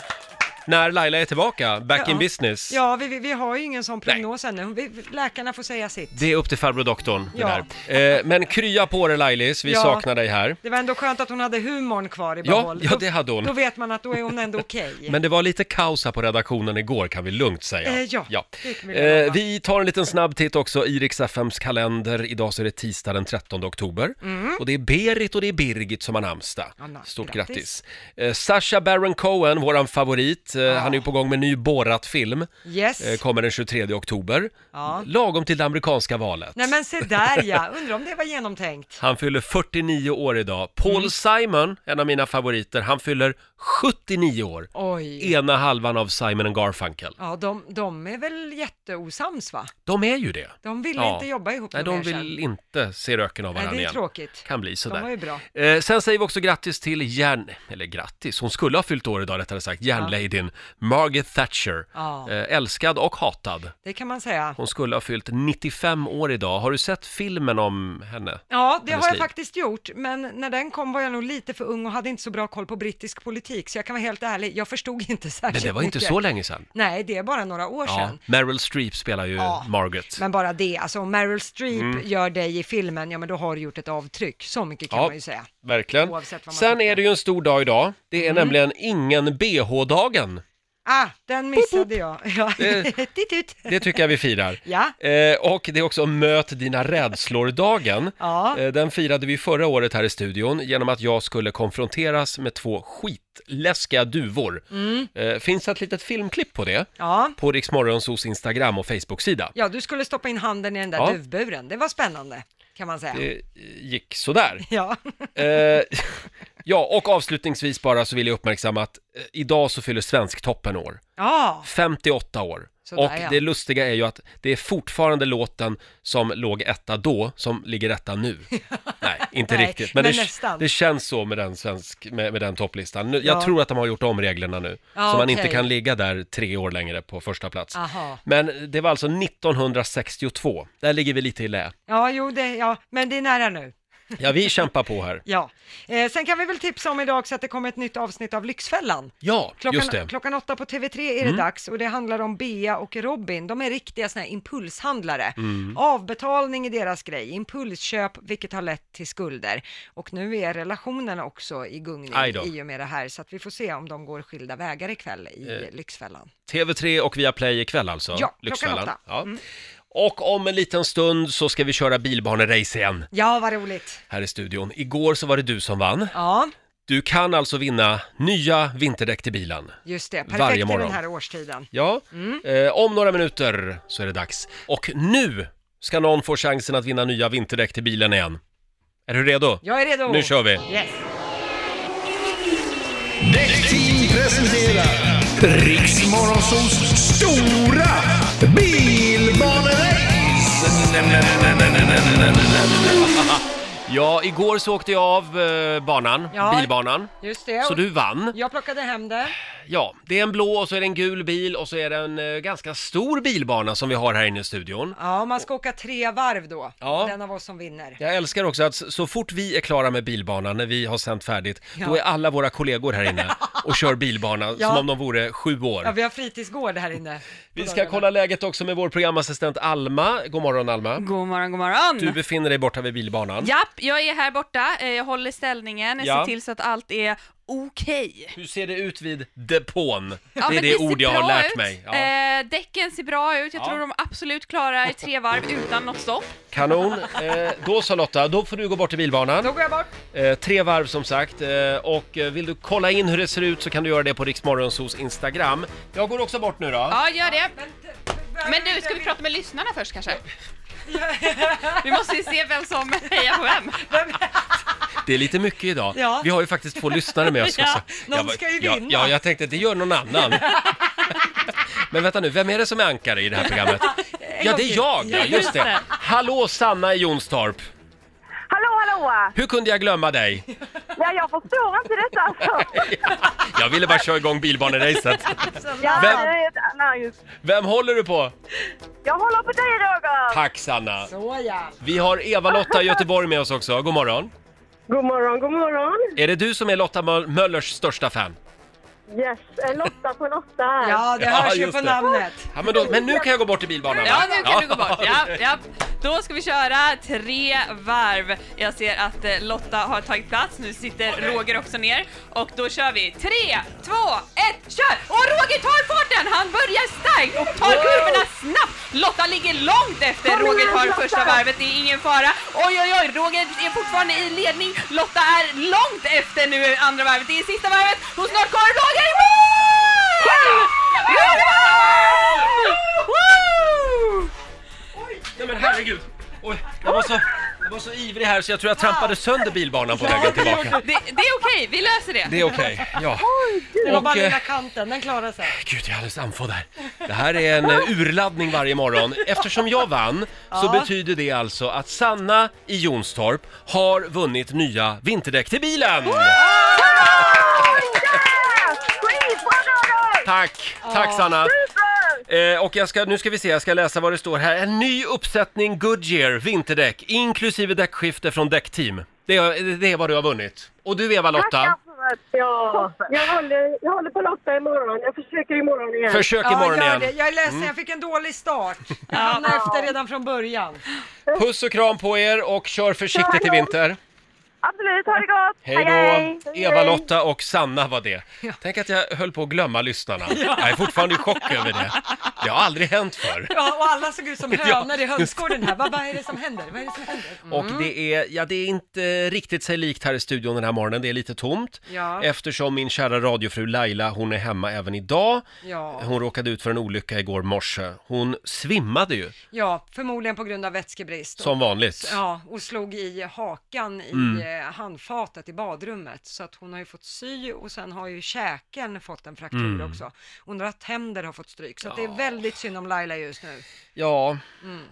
när Laila är tillbaka, back in
Ja.
business.
Ja, vi, vi, vi har ju ingen sån prognos ännu. Vi, läkarna får säga sitt.
Det är upp till farbror doktorn det
Ja.
där. Eh, men krya på dig Lailis, vi
Ja.
saknar dig här.
Det var ändå skönt att hon hade humorn kvar i
Ja,
behåll.
ja,
Då-
det hade hon.
Då vet man att då är hon ändå okej.
Men det var lite kaos här på redaktionen igår kan vi lugnt säga.
Eh, ja, det kan vi lugnt
eh,
lova.
vi tar en liten snabb titt också i Rix FMs kalender. Idag så är det tisdag den 13 oktober.
Mm.
Och det är Berit och det är Birgit som har namnsdag.
Anna,
Stort grattis.
grattis.
Eh, Sasha Baron Cohen, våran favorit, eh, han är ju på gång med en ny Borat-film.
Yes.
Eh, kommer den 23 oktober.
Ja.
Lagom till det amerikanska valet.
Nej men se där ja, undrar om det var genomtänkt.
<laughs> Han fyller 49 år idag. Paul
Mm.
Simon, en av mina favoriter, han fyller 79 år.
Oj.
Ena halvan av Simon and Garfunkel.
Ja, de, de är väl jätteosams va?
De är ju det.
De vill
Ja.
inte jobba ihop
Nej,
något
de
mer sen.
vill inte se röken av
Nej,
varandra
det är
igen.
tråkigt.
Kan bli
De var ju
sådär.
bra.
Eh, sen säger vi också grattis till järn... Eller grattis, hon skulle ha fyllt år idag rättare sagt, järnladyn Margaret Thatcher.
Ja.
Eh, älskad och hatad.
Det kan man säga.
Hon skulle ha fyllt 95 år idag. Har du sett filmen om henne?
Ja, det
Hennes
har jag
liv.
faktiskt gjort, men när den kom var jag nog lite för ung och hade inte så bra koll på brittisk politik, så jag kan vara helt ärlig, jag förstod <laughs> inte särskilt
Men det var inte
mycket.
så länge sedan.
Nej, det är bara några år
Ja,
sedan.
Meryl Streep spelar ju
Ja.
Margaret.
Men bara det, alltså om Meryl Streep gör dig i filmen, ja men då har du gjort ett avtryck, så mycket kan
Mm. Ja.
man ju säga.
Verkligen.
Oavsett vad man
Sen
tycker. Mm.
är det ju en stor dag idag. Det är nämligen ingen bh-dagen.
Ah, den missade jag. <laughs> Ja.
Det-
Titt, titt.
Det tycker jag vi firar.
<laughs> Ja.
Eh, och det är också Möt dina rädslor-dagen.
Ja.
Eh, den firade vi förra året här i studion genom att jag skulle konfronteras med två skitläskiga duvor.
Mm.
Eh, finns ett litet filmklipp på det
ja.
på Riksmorgonsos Instagram och Facebook-sida.
Ja, du skulle stoppa in handen i den där
Ja.
duvburen. Det var spännande, kan man säga.
Det eh, gick sådär.
Ja, <laughs>
Eh, <laughs> ja, och avslutningsvis bara så vill jag uppmärksamma att eh, idag så fyller Svensktoppen år.
ja,
58 år.
Sådär,
och
ja.
det lustiga är ju att det är fortfarande låten som låg etta då som ligger etta
<laughs>
nu. Nej, inte
Nej,
riktigt. Men,
men
det,
nästan.
det känns så med den, svensk, med, med den topplistan. Nu, Jag
Ja.
tror att de har gjort om reglerna nu.
Ja,
så man inte
okej. Ah.
kan ligga där tre år längre på första plats.
Aha.
Men det var alltså 1962. Där ligger vi lite i lä.
ja, jo, det, ja, men det är nära nu.
Ja, vi kämpar på
<laughs>
här.
Ja, eh, sen kan vi väl tipsa om idag också att det kommer ett nytt avsnitt av Lyxfällan.
Ja, just det. Mm.
Klockan, klockan åtta på TV3 är det dags och det handlar om Bea och Robin. De är riktiga såna här impulshandlare.
Mm.
Avbetalning i deras grej, impulsköp, vilket har lett till skulder. Och nu är relationen också i gungning
Aj då.
i och med det här, så att vi får se om de går skilda vägar ikväll
Eh.
i Lyxfällan.
TV3 och Viaplay ikväll alltså?
Ja, klockan
Lyxfällan.
åtta. Mm.
Ja. Och om en liten stund så ska vi köra bilbanerace igen
Ja, vad roligt!
här i studion. Igår så var det du som vann.
Ja,
Du kan alltså vinna nya vinterdäck till bilen.
Just det,
Varje
perfekt i den
morgon.
här årstiden.
Ja, eh, om några minuter så är det dags. Och nu ska någon få chansen att vinna nya vinterdäck till bilen igen. Är du redo?
Jag är redo.
Nu kör vi!
Yes.
Riksmorgonsols stora bilbanerace!
Ja, igår så åkte jag av eh, banan,
Ja.
bilbanan.
Just det.
Så
och
du vann.
Jag plockade hem det.
Ja, det är en blå och så är det en gul bil och så är det en eh, ganska stor bilbana som vi har här inne i studion.
Ja, man ska åka tre varv då.
Ja.
Den av oss som vinner.
Jag älskar också att s- så fort vi är klara med bilbanan, när vi har sänt färdigt, då
Ja.
är alla våra kollegor här inne och
<laughs>
kör bilbana
Ja.
som om de vore sju år.
Ja, vi har fritidsgård här inne.
Vi
på
ska
dagarna.
kolla läget också med vår programassistent Alma. God morgon Alma.
God morgon, god morgon!
Du befinner dig borta vid bilbanan.
Japp, jag är här borta, Eh, jag håller ställningen, jag
Ja.
ser till så att allt är okej.
Hur ser det ut vid depån?
Ja,
det är
men
det
ser
ord jag har
bra
lärt
ut.
mig. Ja.
Eh, däcken ser bra ut, jag
Ja.
tror de absolut klarar tre varv utan något stopp.
Kanon. Eh, då så Lotta, då får du gå bort till bilbanan.
Då går jag bort.
Eh, tre varv som sagt. Eh, och eh, vill du kolla in hur det ser ut så kan du göra det på Riksmorgonsos Instagram. Jag går också bort nu då.
Ja, gör det.
Men,
Men du, ska vi prata med lyssnarna först kanske? Vi måste ju se vem som hejar på vem.
Det är lite mycket idag.
Ja.
Vi har ju faktiskt två lyssnare med oss.
Ja,
också.
någon
Jag var-
ska ju
ja,
vinna.
Ja, jag tänkte det gör någon annan. Men vänta nu, vem är det som är ankare i det här programmet? Ja, det är jag! Ja, just det. Hallå Sanna i Jonstorp!
Hallå, hallå!
Hur kunde jag glömma dig? <laughs>
Ja, jag förstår inte detta alltså.
Jag ville bara köra igång bilbaneracet.
Ja,
Vem-
det är ett nice.
Vem håller du på?
Jag håller på dig Roger!
Tack Sanna!
Såja.
Vi har Eva-Lotta i Göteborg med oss också, god morgon.
God morgon, god morgon!
Är det du som är Lotta Möl- Möllers största fan?
Yes, eh, Lotta på Lotta här.
Ja, det
Ja,
hörs ju
just
på
det.
namnet.
Ja, men, då, men nu kan jag gå bort till bilbanan va?
Ja, nu kan du gå bort. Ja, ja. Då ska vi köra tre varv. Jag ser att eh, Lotta har tagit plats. Nu sitter Roger också ner. Och då kör vi. Tre, två, ett, kör! Och Roger tar farten! Han börjar starkt och tar kurvorna snabbt. Lotta ligger långt efter.
Kom igen,
Roger
Lotta!
tar första varvet. Det är ingen fara. Oj, oj, oj. Roger är fortfarande i ledning. Lotta är långt efter nu i andra varvet. Det är sista varvet och snart kommer Roger i mål! Woo!
Nej men herregud! Oj, jag, var så, jag var så ivrig här så jag tror jag trampade sönder bilbanan på vägen tillbaka.
<laughs>
Det, det är okej, vi löser det.
Det är okej, ja.
Det var
Och,
bara
eh,
lilla kanten, den klarar sig.
Gud, jag är alldeles andfådd här. Det här är en eh, urladdning varje morgon. Eftersom jag vann så
Ja.
betyder det alltså att Sanna i Jonstorp har vunnit nya vinterdäck till bilen!
Yes! Skitbra Roger!
Tack! Tack Sanna!
Super!
Eh, och jag ska, nu ska vi se, jag ska läsa vad det står här. En ny uppsättning Goodyear vinterdäck, inklusive däckskifte från däckteam. Det är, det är vad du har vunnit. Och du Eva-Lotta,
Tack, ja, jag håller, jag håller på Lotta imorgon. Jag försöker imorgon igen.
försök imorgon
gör
igen. Mm.
det. Jag är ledsen, jag fick en
<laughs>
dålig start. Jag hamnade efter redan från början.
Puss och kram på er och kör försiktigt i vinter.
Absolut, ha det gott!
Hej då! Eva-Lotta och Sanna var det. Tänk att jag höll på att glömma lyssnarna. Jag är fortfarande i chock över det. Det har aldrig hänt förr.
Ja, och alla såg
<laughs>
ut som hönor i hönsgården här. Vad, vad är det som händer? Vad är det som händer?
Och det är, ja, det är inte riktigt sig likt här i studion den här morgonen. Det är lite tomt.
Ja.
Eftersom min kära radiofru Laila, hon är hemma även idag.
Ja.
Hon råkade ut för en olycka igår morse. Hon svimmade ju,
ja, förmodligen på grund av vätskebrist.
som vanligt.
Ja, och slog i hakan i
Mm.
eh, handfatet i badrummet. Så att hon har ju fått sy och sen har ju käken fått en fraktur
Mm.
också. Och några tänder har fått stryk. Så att det är väldigt synd om Laila just nu.
Ja,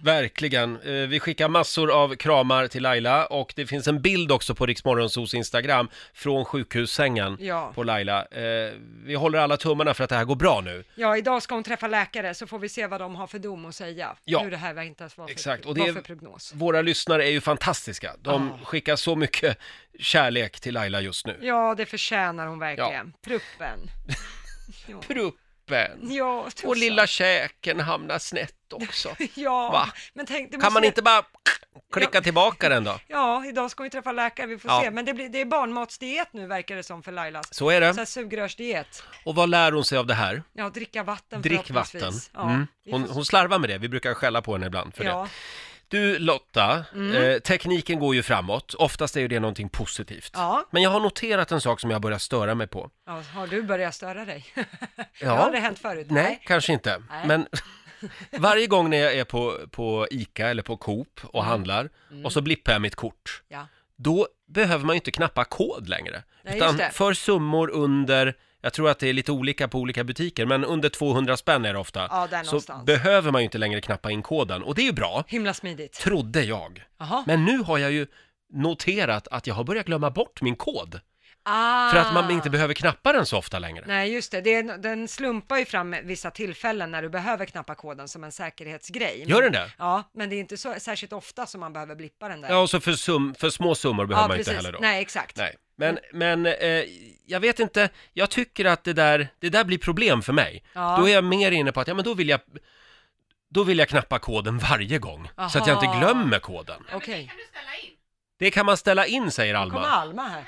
verkligen. Eh, Vi skickar massor av kramar till Laila och det finns en bild också på Riksmorgonsos Instagram från sjukhussängen
Ja.
på Laila. Eh, Vi håller alla tummarna för att det här går bra nu.
Ja, idag ska hon träffa läkare så får vi se vad de har för dom att säga.
Ja.
Hur det här väntas vara för,
Exakt, och
och
det är-
för prognos.
Våra lyssnare är ju fantastiska. De skickar så mycket kärlek till Laila just nu.
Ja, det förtjänar hon verkligen. Pruppen.
Pruppen
Ja,
och
tusan.
lilla käken hamnar snett också.
<laughs> Ja,
Va?
men tänk,
Kan
det måste-
man inte bara klicka tillbaka den då?
Ja, idag ska hon ju träffa läkare, vi får
Ja.
se. Men det, blir, det är barnmatsdiet nu verkar det som för Lailas.
Så är
Så här
det.
sugrörsdiet.
Och vad lär hon sig av det här?
Ja, dricka vatten
Drick vatten.
förhoppningsvis. Ja,
Mm.
vi får
Hon,
se.
hon slarvar med det, vi brukar skälla på henne ibland för det.
ja. Mm.
Du Lotta, eh, tekniken går ju framåt. Oftast är ju det någonting positivt.
Ja.
Men jag har noterat en sak som jag börjar störa mig på.
Ja, har du börjat störa dig? <laughs> det
Ja.
har aldrig hänt förut.
Nej, kanske inte.
Nej. <laughs>
Men varje gång när jag är på, på ICA eller på Coop och handlar och så blippar jag mitt kort,
Mm. Ja.
då behöver man ju inte knappa kod längre.
Nej,
utan
just det.
för summor under, jag tror att det är lite olika på olika butiker, men under 200 spänn är det ofta.
Ja, där
så
någonstans.
behöver man ju inte längre knappa in koden och det är ju bra,
Himla smidigt.
trodde jag.
Jaha.
Men nu har jag ju noterat att jag har börjat glömma bort min kod.
Ah.
För att man inte behöver knappa den så ofta längre.
Nej, just det. det är, den slumpar ju fram vissa tillfällen när du behöver knappa koden som en säkerhetsgrej. Men,
Gör den det?
Ja, men det är inte så, särskilt ofta som man behöver blippa den där.
Ja, och så för, sum, för små summor behöver man inte heller då.
Nej, exakt.
Nej. Men, men eh, jag vet inte, jag tycker att det där, det där blir problem för mig.
Ja.
Då är jag mer inne på att, ja men då vill jag, då vill jag knappa koden varje gång. Så att jag
Aha.
inte glömmer koden.
Okej.
Det kan man ställa in, säger
Kommer
Alma.
Alma här?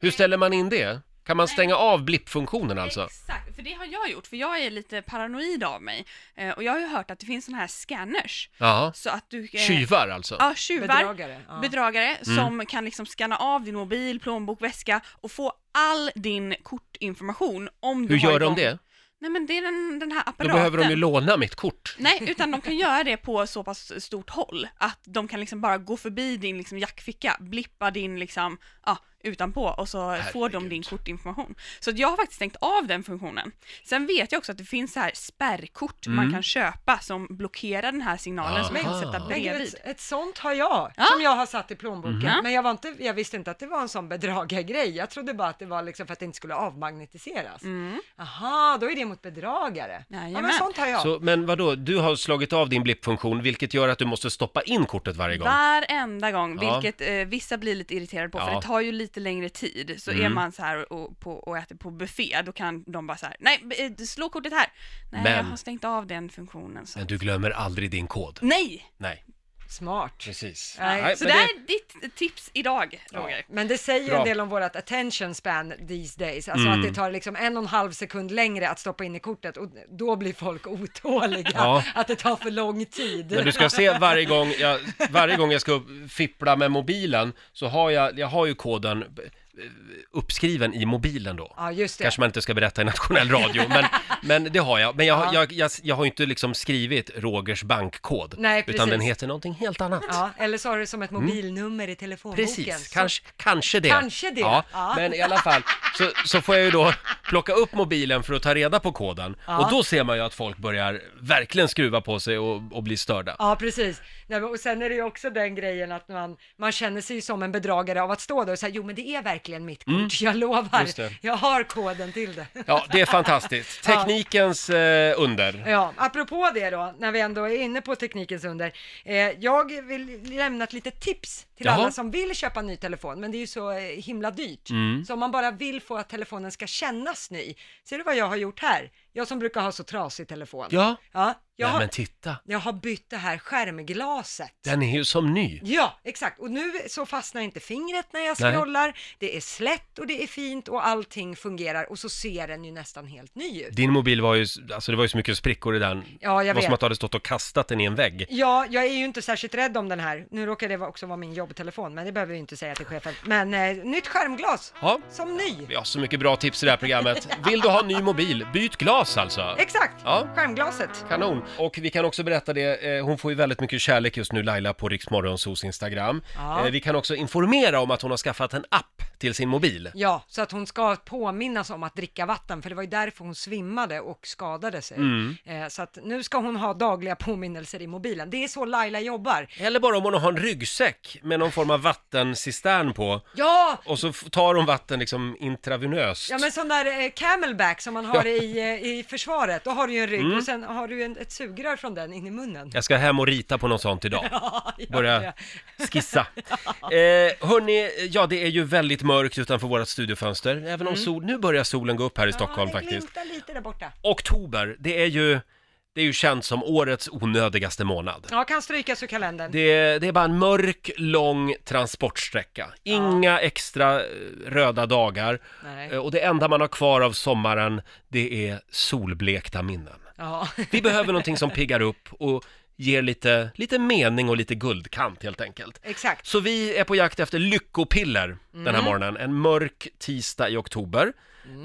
Hur ställer man in det? Kan man stänga av blippfunktionen alltså?
Exakt, för det har jag gjort, för jag är lite paranoid av mig. Eh, och jag har ju hört att det finns såna här scanners.
Ja.
Så att du... eh,
Tjuvar Mm. alltså?
Ja, tjuvar.
Bedragare. Ja.
bedragare som kan liksom scanna av din mobil, plånbok, väska och få all din kortinformation om du
Hur
har
gör de
igång-
det?
Nej men det är den, den här
Då
apparaten.
behöver de ju låna mitt kort.
Nej, utan de kan göra det på så pass stort håll att de kan liksom bara gå förbi din liksom jackficka, blippa din liksom, ja, utanpå och så får de
Herregud.
din kortinformation. Så att jag har faktiskt stängt av den funktionen. Sen vet jag också att det finns så här spärrkort man kan köpa som blockerar den här signalen som man
Mm. Aha.
kan sätta
Men gud,
bredvid.
ett, ett sånt har jag, som jag har satt i plånboken. Men jag, var inte, jag visste inte att det var en sån bedragargrej. Jag trodde bara att det var liksom för att det inte skulle avmagnetiseras. Aha, då är det mot bedragare. Ja, men
Jajamän.
sånt har jag.
Så, men vadå, du har slagit av din blippfunktion vilket gör att du måste stoppa in kortet varje gång?
Varenda gång,
Ja.
vilket eh, vissa blir lite irriterade på, för
Ja. Mm.
det tar ju lite längre tid. Så är man så här och, på, och äter på buffé, då kan de bara så här, nej, b- eh, slå kortet här. Nej, jag
Men-
har stängt av den funktionen. Så.
Men du glömmer aldrig din kod?
Nej!
Nej,
Smart.
precis.
Nej,
Nej,
Så
men
det här är ditt tips idag, Roger.
Men det säger ju
Bra. Mm.
en del om vårt attention span these days, alltså att det tar liksom en och en halv sekund längre att stoppa in i kortet och då blir folk <laughs> otåliga,
Ja.
att det tar för lång tid.
Men du ska se varje gång jag, varje gång jag ska upp- fippla med mobilen så har jag, jag har ju koden eh, uppskriven i mobilen då.
Ja, just det.
Kanske man inte ska berätta i nationell radio, men, men det har jag. Men jag, jag, jag, jag har ju inte liksom skrivit Rogers bankkod,
Nej,
utan
precis.
den heter någonting helt annat.
Ja, eller så har du som ett mobilnummer i telefonboken.
Mm. Precis,
Så-
kanske, kanske det.
Kanske det,
Ja,
ja.
Men i alla fall så, så får jag ju då plocka upp mobilen för att ta reda på koden. Och då ser man ju att folk börjar verkligen skruva på sig och, och bli störda.
Ja, precis. Nej, men- och sen är det ju också den grejen att man, man känner sig ju som en bedragare av att stå där och säga, jo men det är verkligen mitt kort, jag
Mm. Just det.
lovar, jag har koden till det. <laughs>
Ja, det är fantastiskt. Teknikens eh, under.
Ja, apropå det då, när vi ändå är inne på teknikens under. Eh, jag vill lämna ett litet tips till
Jaha.
alla som vill köpa en ny telefon, men det är ju så eh, himla dyrt.
Mm.
Så om man bara vill få att telefonen ska kännas ny, ser du vad jag har gjort här? Jag som brukar ha så trasig telefon.
Ja.
ja jag,
Nej,
har,
men titta,
jag har bytt det här skärmglaset.
den är ju som ny.
Ja, exakt. Och nu så fastnar inte fingret när jag
Nej.
scrollar. Det är slätt och det är fint och allting fungerar och så ser den ju nästan helt ny ut.
Din mobil var ju, alltså det var ju så mycket sprickor i den.
Ja,
det
jag
var som
vet.
att du hade stått och kastat den i en vägg.
Ja, jag är ju inte särskilt rädd om den här. Nu råkar det vara- också vara min jobbtelefon, men det behöver vi inte säga till chefen. Men eh, nytt skärmglas,
Ja.
som ny.
Vi har så mycket bra tips i det här
<laughs>
programmet. Vill du ha ny mobil, byt glas alltså.
Exakt,
Ja.
skärmglaset.
Kanon! Och vi kan också berätta det, eh, hon får ju väldigt mycket kärlek just nu Laila på Riksmorgonsos Instagram.
Ja.
Eh, vi kan också informera om att hon har skaffat en app till sin mobil.
Ja, så att hon ska påminnas om att dricka vatten, för det var ju därför hon svimmade och skadade sig.
Mm.
Eh, så att nu ska hon ha dagliga påminnelser i mobilen. Det är så Laila jobbar.
Eller bara om hon har en ryggsäck med någon form av vattencistern på
Ja,
och så f- tar hon vatten liksom intravenöst.
Ja men sån där eh, camelback som man har i, eh, i försvaret, då har du ju en rygg
Mm.
och sen har du en, ett sugrör från den in i munnen.
Jag ska hem och rita på något sånt idag.
<laughs> Ja, ja,
Börja
ja.
skissa. Eh, hörni, ja det är ju väldigt mörkt utanför vårt studiofönster. Även om sol, nu börjar solen gå upp här i Stockholm
Mm. ja, det
faktiskt.
glimtar lite där borta.
Oktober, det är ju, det är ju känt som årets onödigaste månad.
Ja, kan strykas ur kalendern.
Det, det är bara en mörk, lång transportsträcka. Inga extra eh, röda dagar.
Nej.
Eh, Och det enda man har kvar av sommaren, det är solblekta minnen.
Ja. <laughs>
Vi behöver någonting som piggar upp och ger lite, lite mening och lite guldkant helt enkelt.
Exakt.
Så vi är på jakt efter lyckopiller den här morgonen, en mörk tisdag i oktober.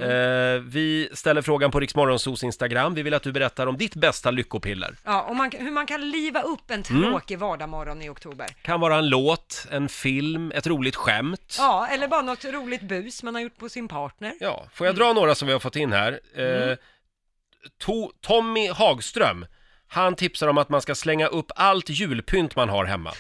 Eh, vi ställer frågan på Riksmorgonsos Instagram, vi vill att du berättar om ditt bästa lyckopiller.
Ja, och man, hur man kan liva upp en
Mm.
tråkig vardagsmorgon i oktober.
Kan vara en låt, en film, ett roligt skämt.
Ja, eller bara något roligt bus man har gjort på sin partner.
Ja, får jag
Mm.
dra några som vi har fått in här? Eh, to- Tommy Hagström, han tipsar om att man ska slänga upp allt julpynt man har hemma.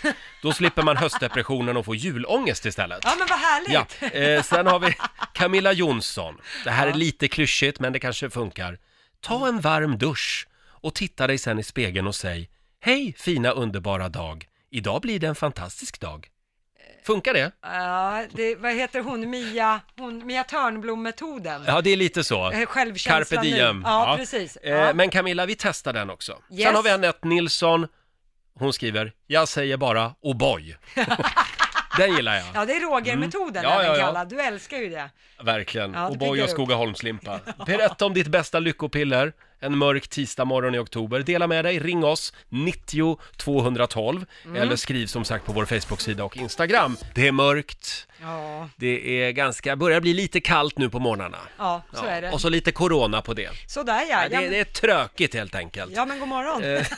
Då slipper man höstdepressionen och får julångest istället.
Ja, men vad härligt!
Ja, eh, sen har vi Camilla Jonsson. Det här är lite klyschigt, men det kanske funkar. Ta en varm dusch och titta dig sen i spegeln och säg Hej fina underbara dag! Idag blir det en fantastisk dag. Funkar det?
Ja, det, vad heter hon, Mia, hon, Mia Törnblom-metoden?
Ja, det är lite så.
Eh, Självkänslan
Carpe diem.
nu. Ja, precis.
Eh,
Ja.
Men Camilla, vi testar den också.
Yes.
Sen har vi Anette Nilsson. Hon skriver, jag säger bara oh
<laughs>
boy. den gillar jag,
Ja, det är Roger-metoden
Mm. Ja,
även
ja, ja.
kallad. Du älskar ju det.
verkligen.
Ja, det
oh boy
piggar
och
upp.
Skogaholmslimpa. Berätta om ditt bästa lyckopiller en mörk tisdag morgon i oktober. Dela med dig, ring oss, 90 212
Mm.
eller skriv som sagt på vår Facebook-sida och Instagram. Det är mörkt,
Ja,
det är ganska, börjar bli lite kallt nu på morgnarna.
ja så
Ja,
är det.
Och så lite corona på det.
Sådär ja.
Nej,
Ja,
det, det
men,
är trökigt helt enkelt.
ja, men god morgon.
Eh, <laughs>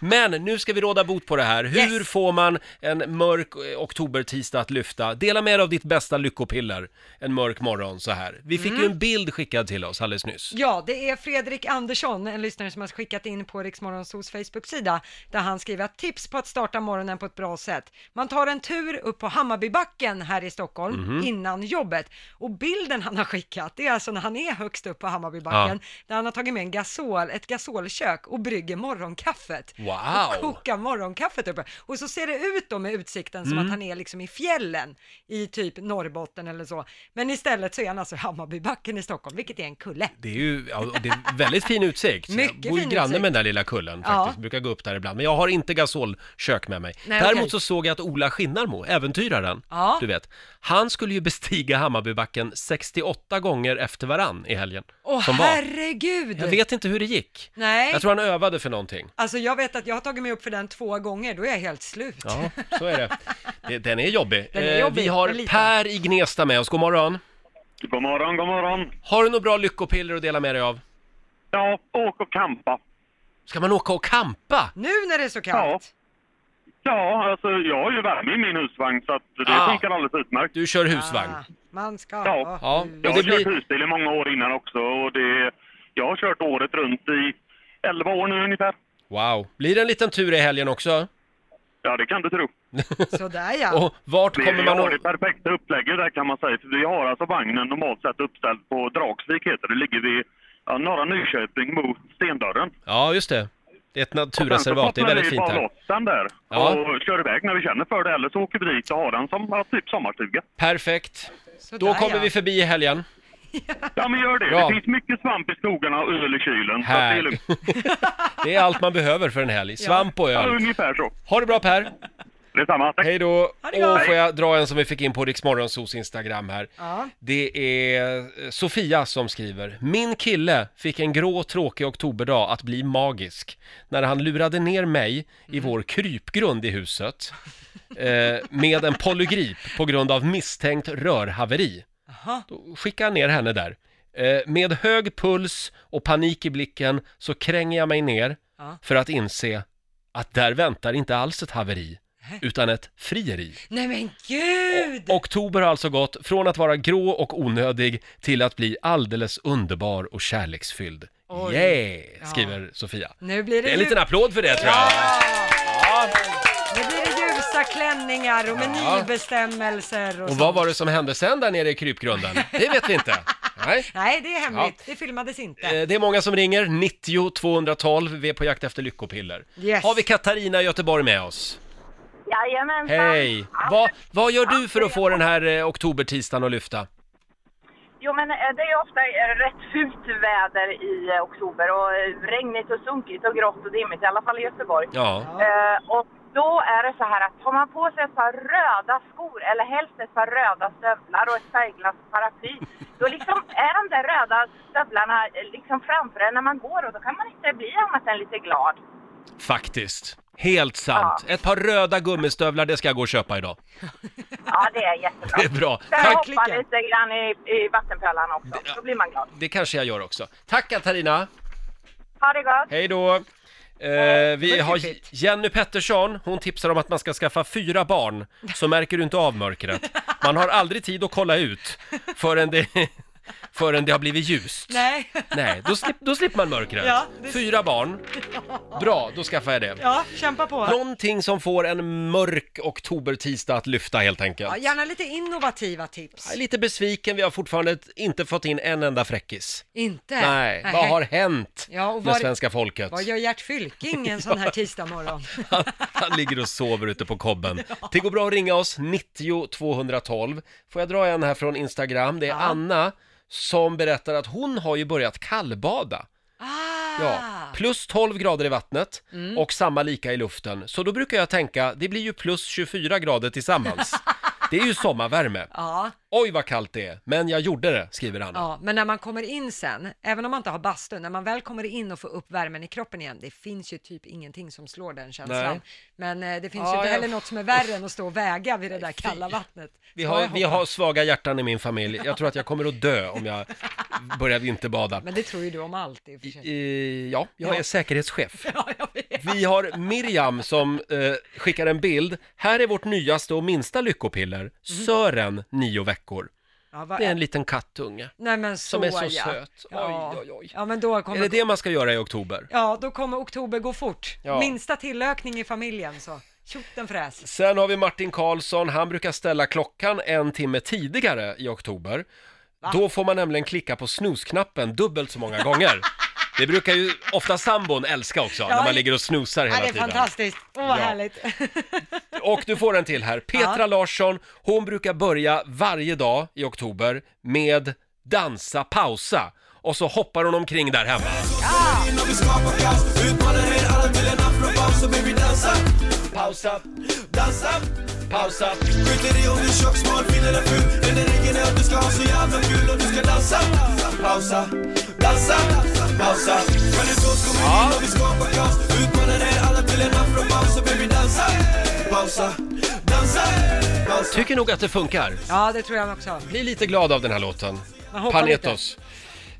Men nu ska vi råda bot på det här. Hur
Yes.
får man en mörk eh, oktobertisdag att lyfta? Dela med dig av ditt bästa lyckopiller en mörk morgon så här. Vi fick ju en bild skickad till oss alldeles nyss.
Mm. Ja, det är Fredrik Andersson, en lyssnare som har skickat in på Riksmorgonsols Facebook-sida, där han skriver att tips på att starta morgonen på ett bra sätt. Man tar en tur upp på Hammarbybacken här i Stockholm innan jobbet och bilden han har skickat, det är alltså när han är högst upp på Hammarbybacken, där han har tagit med en gasol, ett gasolkök och brygger morgonkaffet. Och
Wow!
kokar morgonkaffet uppe. Och så ser det ut då med utsikten som att han är liksom i fjällen i typ Norrbotten eller så. Men istället så är han alltså i Hammarbybacken i Stockholm, vilket är en kulle.
Det är ju ja, och det är väldigt fin utsikt.
Mycket
jag bor ju
fin
granne
utsikt.
med den där lilla kullen
Ja.
faktiskt. Brukar gå upp där ibland. Men jag har inte gasolkök med mig.
Nej,
Däremot
okej.
så såg jag att Ola Skinnarmo, äventyraren,
Ja.
du vet. Han skulle ju bestiga Hammarbybacken 68 gånger efter varann i helgen.
Åh
som var.
herregud!
Jag vet inte hur det gick.
Nej,
Jag tror han övade för någonting.
alltså jag vet att jag har tagit mig upp för den två gånger, då är jag helt slut.
Ja, så är det. Det- Den är jobbig.
Den är
Eh,
jobbig,
Vi
men
har
liten.
Per i Gnesta med oss. God morgon.
God morgon, god morgon.
Har du några bra lyckopiller att dela med dig av?
Ja, åk och kampa.
Ska man åka och kampa?
Nu när det är så kallt.
Ja, alltså jag har ju värme i min husvagn så att det
Ah.
funkar alldeles utmärkt.
Du kör husvagn.
Ah, man ska
Ja.
ha
Ja,
hus.
Jag
och
har
det
kört
blir...
husbil i många år innan också och det, jag har kört året runt i 11 år nu ungefär.
Wow. Blir det en liten tur i helgen också?
Ja, det kan du tro.
Sådär ja.
Och vart
Vi
kommer man
har det
att...
perfekta upplägget där kan man säga. För vi har alltså vagnen normalt sett uppställd på Dragsvik heter det. ligger vid ja, norra Nyköping mot Stendörren.
Ja, just det. Det är ett
Sen
naturreservat,
så
det är väldigt
vi
fint
bara
här.
loss den där
Ja.
och kör iväg när vi känner för det. Eller så åker vi dit och har den som ja, typ sommarstuga.
Perfekt.
Sådär,
Då kommer
ja.
vi förbi i helgen.
Ja men gör det.
Bra.
Det finns mycket svamp i skogarna och öl i kylen. Så att det är
Här.
lugnt.
<laughs> Det är allt man behöver för en helg. Svamp och
Ja,
öl.
ungefär så.
Ha det bra Per!
Detsamma. Tack.
Hej då!
Ha det gott.
Och får jag dra en som vi fick in på Riksmorgonsos Instagram här.
Ja.
Det är eh, Sofia som skriver. Min kille fick en grå tråkig oktoberdag att bli magisk när han lurade ner mig i
Mm.
vår krypgrund i huset eh, med en polygrip på grund av misstänkt rörhaveri.
Jaha.
Då skickade han ner henne där. Eh, med hög puls och panik i blicken så kränger jag mig ner
Ja.
för att inse att där väntar inte alls ett haveri utan ett frieri.
Nej men gud!
Oktober har alltså gått från att vara grå och onödig till att bli alldeles underbar och kärleksfylld.
Oj.
Yeah, skriver Sofia.
Nu blir det,
Det är en
ju-
liten applåd för det tror jag.
Ja. Nu blir det ljusa klänningar och menybestämmelser och,
Och
sånt.
vad var det som hände sen där nere i krypgrunden? Det vet vi inte. Nej.
Nej, det är hemligt. Det filmades inte.
Eh, Det är många som ringer, 90 212, vi är på jakt efter lyckopiller.
Yes.
Har vi Katarina i Göteborg med oss?
Jajamensan.
Hej! Va, vad gör du för att få den här eh, oktobertisdagen att lyfta?
Jo, men eh, det är ju ofta eh, rätt fult väder i eh, oktober och eh, regnigt och sunkigt och grått och dimmigt, i alla fall i Göteborg.
Ja,
Eh, och då är det så här att tar man på sig ett par röda skor eller helst ett par röda stövlar och ett färgglatt paraply, då liksom är de där röda stövlarna eh, liksom framför en när man går och då kan man inte bli annat än lite glad.
Faktiskt. Helt sant. Ett par röda gummistövlar, det ska jag gå och köpa idag.
Ja, det är jättebra.
<laughs> Det är bra.
Sen
Tack.
hoppa lite grann i, i vattenpölarna också, då blir man glad.
Det kanske jag gör också. Tack Katarina!
Ha det gott!
Hej då! Eh, vi har Jenny Pettersson, hon tipsar om att man ska skaffa fyra barn, så märker du inte av mörkret. Man har aldrig tid att kolla ut förrän det, <laughs> förrän det har blivit ljust.
Nej. <laughs>
Nej, då, slipp, då slipper man mörkret.
Ja, det-
Fyra
<laughs>
barn, bra, då skaffar jag det.
Ja, kämpa på.
Någonting som får en mörk oktobertisdag att lyfta helt enkelt.
Ja, gärna lite innovativa tips.
Jag är lite besviken, vi har fortfarande inte fått in en enda fräckis.
Inte?
Nej, vad har hänt
Ja, och
med
var-
svenska folket?
Vad gör Gert
<laughs>
Fylking en sån här tisdag morgon?
Han, han ligger och sover ute på
<laughs>
kobben. Det går bra att ringa oss, 90 212. Får jag dra en här från Instagram? Det är Anna som berättar att hon har ju börjat kallbada.
Ah!
Ja, plus 12 grader i vattnet
Mm.
och samma lika i luften. Så då brukar jag tänka, det blir ju plus 24 grader tillsammans.
<laughs>
Det är ju sommarvärme.
Ja.
Oj vad kallt det är, men jag gjorde det, skriver Anna.
Ja, men när man kommer in sen, även om man inte har bastu, när man väl kommer in och får upp värmen i kroppen igen, det finns ju typ ingenting som slår den känslan.
Nej.
Men eh, det finns
Ja,
ju inte
jag-
heller något som är värre än att stå och väga vid det där kalla vattnet.
Vi
Så
har,
jag
vi
hoppas-
har svaga hjärtan i min familj. Jag tror att jag kommer att dö om jag börjar
<laughs>
vinterbada.
Men det tror ju du om allt i och för sig.
Eh, ja, jag är
<laughs> Ja.
säkerhetschef. Vi har Miriam som eh, skickar en bild. Här är vårt nyaste och minsta lyckopiller,
Mhm.
Sören, nio veckor.
Ja, vad
Det är en
är-
liten kattunge.
Nej, men så,
som är så
ja.
söt.
Ja.
Oj, oj, oj.
Ja, men då
Är
kommer...
det det man ska göra i oktober?
Ja, då kommer oktober gå fort.
Ja.
Minsta tillökning i familjen så, tjotten fräs.
Sen har vi Martin Karlsson, han brukar ställa klockan en timme tidigare i oktober. Då får man nämligen klicka på snusknappen dubbelt så många
<laughs>
gånger. Det brukar ju ofta sambon älska också, när man
det-
ligger och snusar hela
Ja, det är
tiden.
fantastiskt. Åh, vad
Ja.
härligt. <laughs>
Och du får en till här. Petra
Ja.
Larsson, hon brukar börja varje dag i oktober med dansa, pausa. Och så hoppar hon omkring där hemma.
Pausa, dansa, pausa Skiter i om du är tjock, smal, fin eller ful Enda regeln är att du ska ha så jävla kul och du ska dansa Pausa, dansa, pausa Men det är så ska vi in och vi skapar kaos Utmanar er alla till en afropaus så baby dansa Pausa, dansa, pausa
Tycker nog att det funkar.
Ja, det tror jag också.
Bli lite glad av den här låten.
Man hoppar
Panetos.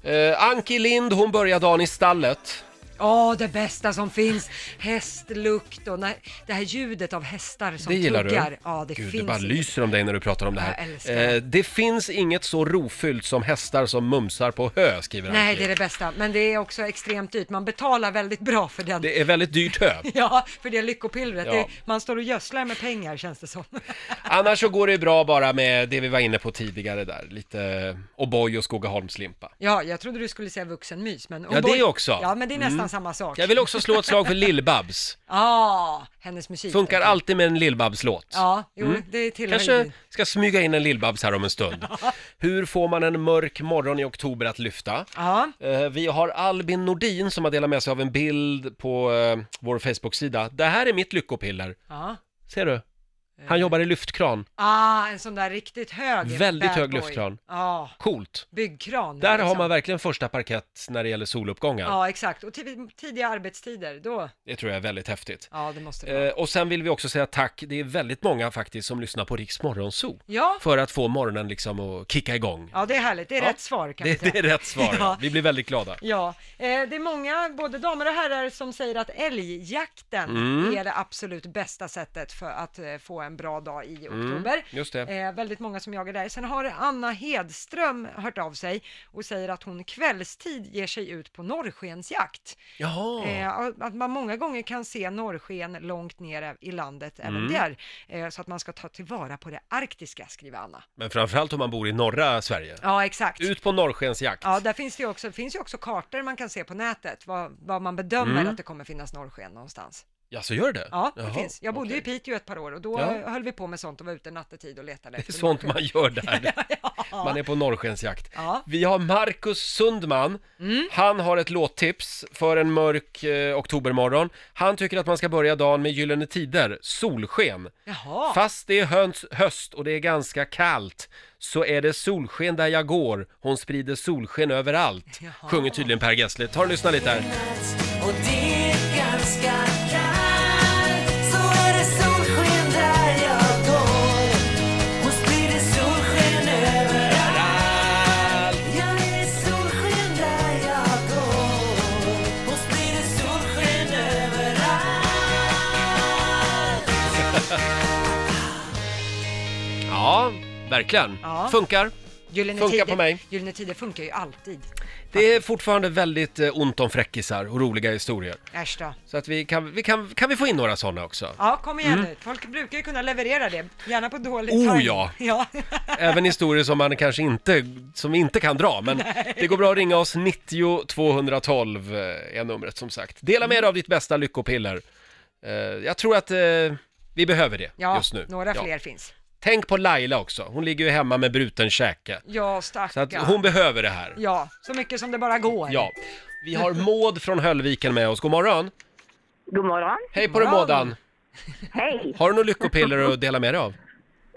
Eh, Anki Lind, hon börjar dagen i stallet.
Ja, det bästa som finns. Hästlukt och när, det här ljudet av hästar som
det gillar
tuggar.
du?
Ja, det
Gud,
finns
det bara
inget.
lyser om dig när du pratar om det
Jag
här.
älskar det.
Eh, det finns inget så rofyllt som hästar som mumsar på hö, skriver
Nej,
Anki.
det är det bästa. Men det är också extremt dyrt. Man betalar väldigt bra för den.
det är väldigt dyrt hö.
<laughs> Ja, för det lyckopillret.
Ja.
Det, man står och gödslar med pengar känns det som. <laughs>
Annars så går det ju bra bara med det vi var inne på tidigare där, lite O'boy och Skogaholmslimpa.
Ja, jag trodde du skulle säga vuxenmys, men...
Ja, det också.
Ja, men det är nästan
Mm.
samma sak.
Jag vill också slå ett slag för
<laughs>
Lill-Babs.
Ja, hennes musik.
Funkar
tänker jag.
alltid med en Lill-Babs-låt.
Ja, jo,
Mm.
det tillhör ju
Kanske ska smyga in en Lill-Babs här om en stund. Hur får man en mörk morgon i oktober att lyfta?
Ja.
Eh, Vi har Albin Nordin som har delat med sig av en bild på eh, vår Facebook-sida. Det här är mitt lyckopiller.
Ja.
Ser du?
Eh.
Han jobbar i lyftkran.
Ah, en sån där riktigt hög
Väldigt
bad
hög
boy. Ah.
lyftkran.
Ja,
Coolt.
byggkran.
Där har
liksom.
man verkligen första parkett när det gäller soluppgångar.
Ja, exakt. Och tid- tidiga arbetstider, då...
Det tror jag är väldigt häftigt.
Ja, det måste det vara.
Eh, och sen vill vi också säga tack. Det är väldigt många faktiskt som lyssnar på Riks Morgonzoo.
Ja.
För att få morgonen liksom att kicka igång.
Ja, det är härligt. Det är
Ja.
rätt svar kan vi
Det,
säga.
det är rätt svar.
Ja.
ja. Vi blir väldigt glada.
Ja, eh, det är många, både damer och herrar, som säger att älgjakten
Mm.
är det absolut bästa sättet för att eh, få en bra dag i
Mm,
oktober.
just det.
Eh, väldigt många som jagar där. Sen har Anna Hedström hört av sig och säger att hon kvällstid ger sig ut på norrskensjakt.
Jaha.
Eh, att man många gånger kan se norrsken långt nere i landet även
Mm.
där. Eh, så att man ska ta tillvara på det arktiska, skriver Anna.
Men framförallt om man bor i norra Sverige.
Ja, exakt.
Ut på norrskensjakt.
Ja, där finns det ju också, finns ju också kartor man kan se på nätet, vad, vad man bedömer
Mm.
att det kommer finnas norrsken någonstans.
Ja, så gör det?
Ja, det
Jaha,
finns. Jag bodde
okej.
i Piteå ett par år och då
Ja.
höll vi på med sånt och var ute nattetid och letade
Det är
efter
sånt man
norrsken.
gör
<laughs>
där. Man är på norrskensjakt.
Ja.
Vi har Marcus Sundman.
Mm.
Han har ett låttips för en mörk eh, oktobermorgon. Han tycker att man ska börja dagen med Gyllene Tider, Solsken.
Jaha.
Fast det är höns, höst och det är ganska kallt så är det solsken där jag går. Hon sprider solsken överallt. Sjunger tydligen Per Gessle. Ta och lyssna lite här.
Och det kan
ganska kall Så är det solsken där jag går Hon sprider solsken överallt Ja, det är solsken där jag går Hon sprider solsken överallt
Ja, verkligen.
Ja.
Funkar.
Gyllene
Funkar
tider,
på mig.
Gyllene Tider funkar ju alltid.
Det är fortfarande väldigt eh, ont om fräckisar och roliga historier.
Äsch då.
Så att vi kan, vi kan, kan vi få in några sådana också?
Ja, kom igen
Mm.
nu. Folk brukar ju kunna leverera det. Gärna på dålig
Oh,
timing.
ja.
ja.
Även historier som man kanske inte, som vi inte kan dra, men
Nej.
det går bra att ringa oss. 90 212 eh, är numret som sagt. Dela med dig av ditt bästa lyckopiller. Eh, Jag tror att eh, vi behöver det
Ja,
just nu.
några
Ja.
fler finns.
Tänk på Laila också, hon ligger ju hemma med bruten käke.
Ja,
Så att
stackarn.
hon behöver det här.
Ja, så mycket som det bara går.
Ja. Vi har Maud från Höllviken med oss, god morgon.
God morgon.
Hej på dig
God morgon.
Maudan!
Hej!
Har du några lyckopiller att dela med dig av?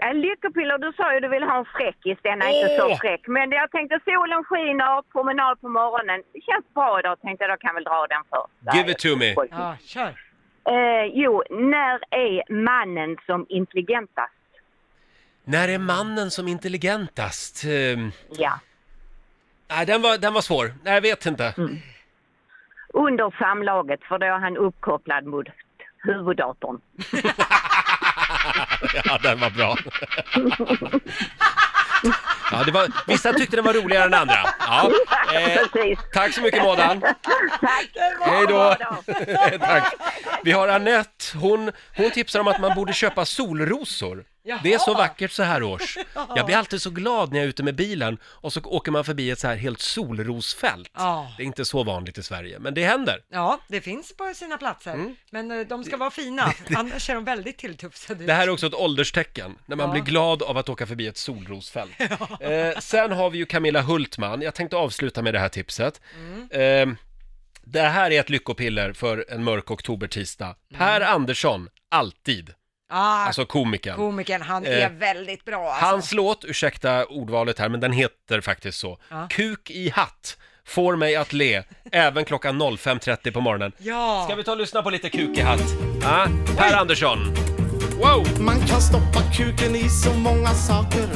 Eh, Lyckopiller, du sa ju du ville ha en fräckis. Den är inte så
Åh!
fräck. Men jag tänkte solen skiner, promenad på morgonen. Det känns bra idag tänkte jag, då kan väl dra den först.
Give it to me!
Ja, kör.
Eh, jo, när är mannen som intelligentast?
När är mannen som intelligentast? Ehm,
Ja.
Nej, den var, den var svår. Nej, jag vet inte.
Under samlaget, för då är han uppkopplad mot huvuddatorn.
<laughs> Ja, den var bra. Ja, det var, vissa tyckte den var roligare än andra. Ja, Eh,
Precis.
tack så mycket Madan. Hej då! Tack. Vi har Anette. Hon, hon tipsar om att man borde köpa solrosor.
Jaha.
Det är så vackert så här års. Jag blir alltid så glad när jag är ute med bilen och så åker man förbi ett så här helt solrosfält.
Ja.
Det är inte så vanligt i Sverige, men det händer.
Ja, det finns på sina platser,
Mm.
men eh, de ska
<laughs>
vara fina, annars är de väldigt tilltufsade.
Det här är också ett ålderstecken, när man
Ja.
blir glad av att åka förbi ett
<laughs>
solrosfält. Eh, sen har vi ju Camilla Hultman, jag tänkte avsluta med det här tipset.
Mm.
Eh, det här är ett lyckopiller för en mörk
Mm.
oktobertisdag. Per Andersson, alltid.
Ah,
Alltså komikern.
komikern, han
Eh,
är väldigt bra alltså.
Hans låt, ursäkta ordvalet här, men den heter faktiskt så.
Ja.
Kuk i hatt får mig att le, även klockan 05.30 på morgonen.
Ja.
Ska vi ta och lyssna på lite kuk i hatt? Ja, per Andersson. Wow!
Man kan stoppa kuken i så många saker.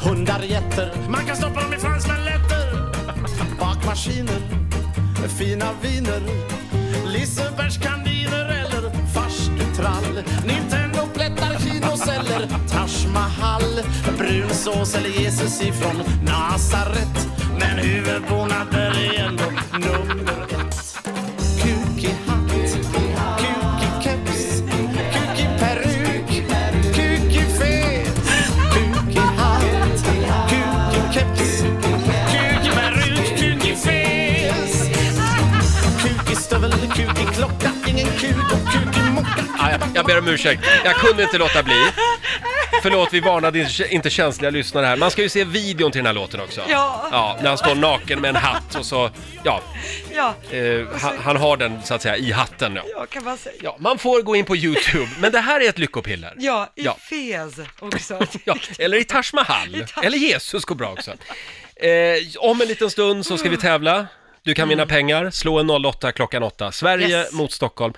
Hundar, getter. Man kan stoppa dem i fransmaletter. Bakmaskiner. Fina viner. Lisebergskandiner eller farstutrall. Nintendo-plättar, kinoceller. Taj Mahal. Brun sås eller Jesus ifrån Nazaret. Men huvudbonader är ändå nummer ett. Kuk i hatt. Kuk i keps. Kuk i peruk, kuk i fes, kuk i hatt, kuk i keps, kuk i peruk, kuk i fes. Kuk i stövel, kuk i klocka, ingen kuk och kuk i mocka.
Ja, Ah, jag, jag ber om ursäkt, jag kunde inte låta bli. Förlåt, vi varnade inte- inte känsliga lyssnare här. Man ska ju se videon till den här låten också.
Ja.
ja när han står naken med en hatt och så, ja,
Ja,
eh, han, han har den så att säga i hatten. Ja.
ja, kan man säga.
Ja, man får gå in på YouTube, men det här är ett lyckopiller.
Ja, i
Ja.
fes
<laughs>
också.
Ja, eller i Taj Mahal, eller Jesus går bra också. Eh, om en liten stund så ska vi tävla. Du kan vinna pengar, slå en 08 klockan 8. Sverige
Mm. Yes.
mot Stockholm.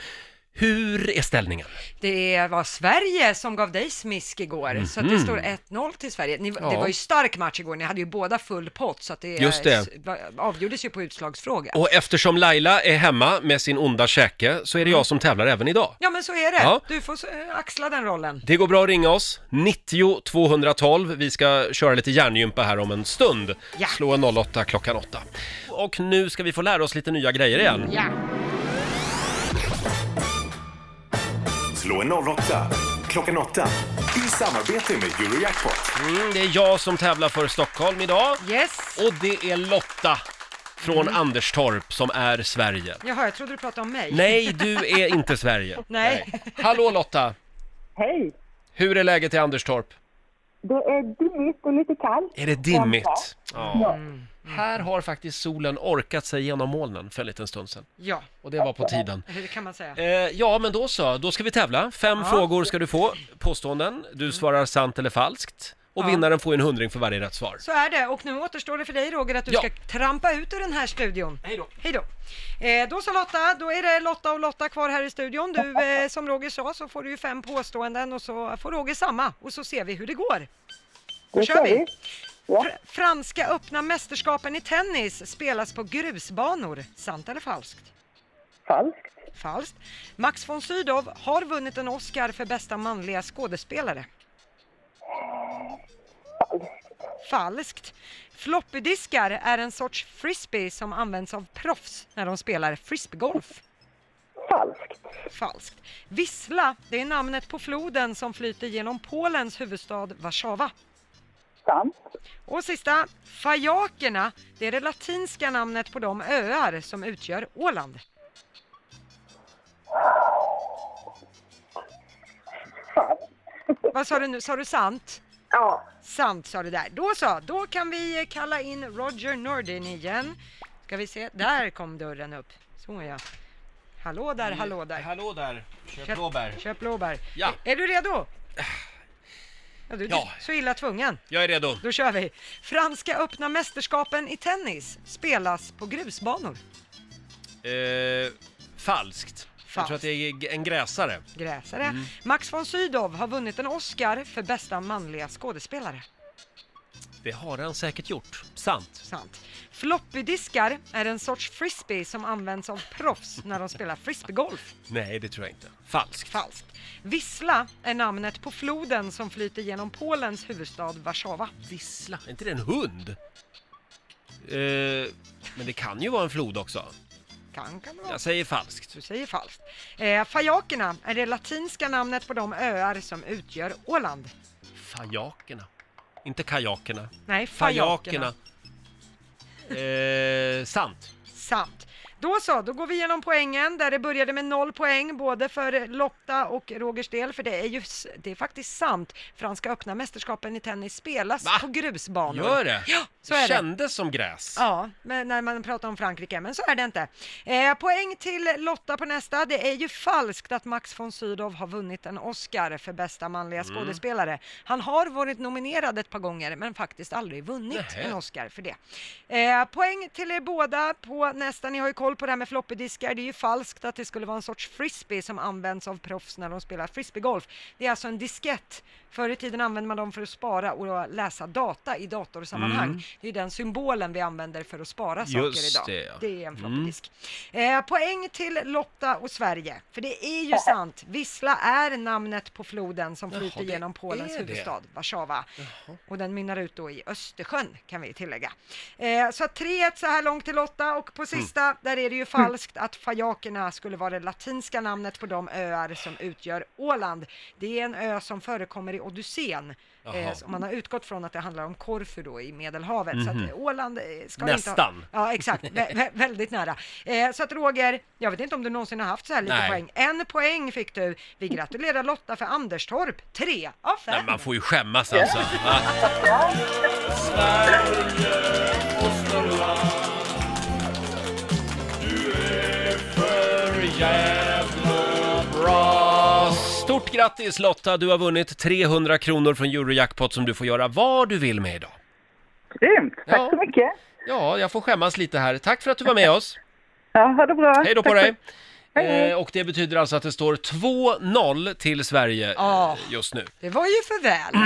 Hur är ställningen?
Det var Sverige som gav dig smisk igår, så att det
Mhm.
står 1-0 till Sverige. Ni,
Ja.
Det var ju stark match igår, ni hade ju båda full pott, så att det,
Just det.
s- va- avgjordes ju på utslagsfråga.
Och eftersom Laila är hemma med sin onda käke så är det
Mm.
jag som tävlar även idag.
Ja, men så är det.
Ja.
Du får så- eh, axla den rollen.
Det går bra att ringa oss, 90 212. Vi ska köra lite hjärngympa här om en stund.
Ja.
Slå en 08 klockan 8. Och nu ska vi få lära oss lite nya grejer igen.
Ja.
Slå en 08 klockan 8 i samarbete med Eurojackpot.
Mm, det är jag som tävlar för Stockholm idag.
Yes.
Och det är Lotta från
Mm.
Anderstorp som är Sverige.
Jaha, jag trodde du pratade om mig.
Nej, du är inte Sverige.
<laughs> Nej.
Hallå Lotta!
Hej!
Hur är läget i Anderstorp?
Det är dimmigt och lite kallt.
Är det dimmigt?
Ja.
Mm, Här har faktiskt solen orkat sig genom molnen för en liten stund sedan.
Ja.
Och det var på tiden.
Det kan man säga.
Eh, ja, men då så. Då ska vi tävla. Fem
Ja.
Mm. frågor ska du få. Påståenden. Du svarar sant eller falskt. och vinnaren får ju en hundring för varje rätt svar.
Så är det och nu återstår det för dig Roger att du
Ja.
ska trampa ut ur den här studion. Hej då. Hej då. Eh, då så Lotta, då är det Lotta och Lotta kvar här i studion. Du, eh, som Roger sa så får du ju fem påståenden och så får Roger samma och så ser vi hur det går. Då
Det
kör
kör
vi.
vi. Ja.
Fr- Franska öppna mästerskapen i tennis spelas på grusbanor. Sant eller falskt?
Falskt.
Falskt. Max von Sydow har vunnit en Oscar för bästa manliga skådespelare. Falskt. Floppydiskar är en sorts frisbee som används av proffs när de spelar frisbeegolf. Falskt. Falskt. Vissla, det är namnet på floden som flyter genom Polens huvudstad Warszawa. Sant. Och sista, Fajakerna, det är det latinska namnet på de öar som utgör Åland. Vad sa du nu? Sa du sant? Ja. Sant sa du där. Då så, då kan vi kalla in Roger Nordin igen. Ska vi se, där kom dörren upp. Så ja. Hallå där, hallå där.
Hallå där, köp,
Köp blåbär.
Ja.
Är, är du redo? Ja, du är
Ja.
så illa tvungen.
Jag är redo.
Då kör vi. Franska öppna mästerskapen i tennis spelas på grusbanor.
Eh, falskt. Jag tror att det är g- en gräsare.
Gräsare.
Mm.
Max von Sydow har vunnit en Oscar för bästa manliga skådespelare.
Det har han säkert gjort. Sant.
Sant. Floppydiskar är en sorts frisbee som används av proffs när de spelar frisbeegolf.
Nej, det tror jag inte. Falskt.
Falskt. Wisla är namnet på floden som flyter genom Polens huvudstad Warszawa.
Vissla? Är inte det en hund? Eh, men det kan ju vara en flod också.
Kan, kan det vara.
Jag säger falskt.
Du säger falskt. Eh, Fajakerna är det latinska namnet på de öar som utgör Åland.
Fajakerna. Inte kajakerna.
Nej, fajakerna.
Fajakerna. Eh, sant.
Sant. Då så, då går vi igenom poängen där det började med noll poäng både för Lotta och Rogers del för det är ju s- det är faktiskt sant. Franska öppna mästerskapen i tennis spelas på grusbanor.
Gör det?
Ja, så är det.
Kändes som gräs.
Ja, men när man pratar om Frankrike, men så är det inte. Eh, poäng till Lotta på nästa. Det är ju falskt att Max von Sydow har vunnit en Oscar för bästa manliga
Mm.
skådespelare. Han har varit nominerad ett par gånger, men faktiskt aldrig vunnit
Nähä.
en Oscar för det. Eh, poäng till er båda på nästa. Ni har ju koll på det här med floppydiskar. Det är ju falskt att det skulle vara en sorts frisbee som används av proffs när de spelar frisbeegolf. Det är alltså en diskett. Förr i tiden använde man dem för att spara och läsa data i datorsammanhang.
Mm.
Det är den symbolen vi använder för att spara saker
Just
idag.
det, ja.
det är
Mm.
en floppydisk. Eh, poäng till Lotta och Sverige. För det är ju sant. Vissla är namnet på floden som
Jaha,
flyter
det
genom Polens
är det.
huvudstad Warszawa. Och den mynnar ut då i Östersjön kan vi tillägga. Eh, så att 3-1 så här långt till Lotta och på sista
Mm.
där är det ju falskt att fajakerna skulle vara det latinska namnet på de öar som utgör Åland. Det är en ö som förekommer i Odysseen. Eh,
Jaha.
så man har utgått från att det handlar om Korfu då i Medelhavet. Så att
Mhm.
eh, Åland eh, ska Inte
Nästan.
ha, ja, exakt. Vä- vä- väldigt nära. Eh, så att Roger, jag vet inte om du någonsin har haft så här lite
Nej.
poäng. En poäng fick du. Vi gratulerar Lotta för Anderstorp. Tre av fem.
Nej, man får ju skämmas alltså. Va? Bra! Stort grattis Lotta, du har vunnit 300 kronor från Eurojackpot som du får göra vad du vill med idag.
Grymt, tack så mycket.
Ja, jag får skämmas lite här. Tack för att du var
<laughs>
med oss.
Ja, ha det bra.
Hej då på
Tack så-
dig!
Hej, hej.
Eh, och det betyder alltså att det står 2-0 till Sverige eh,
Ah.
Ja.
just nu.
Det var ju för väl.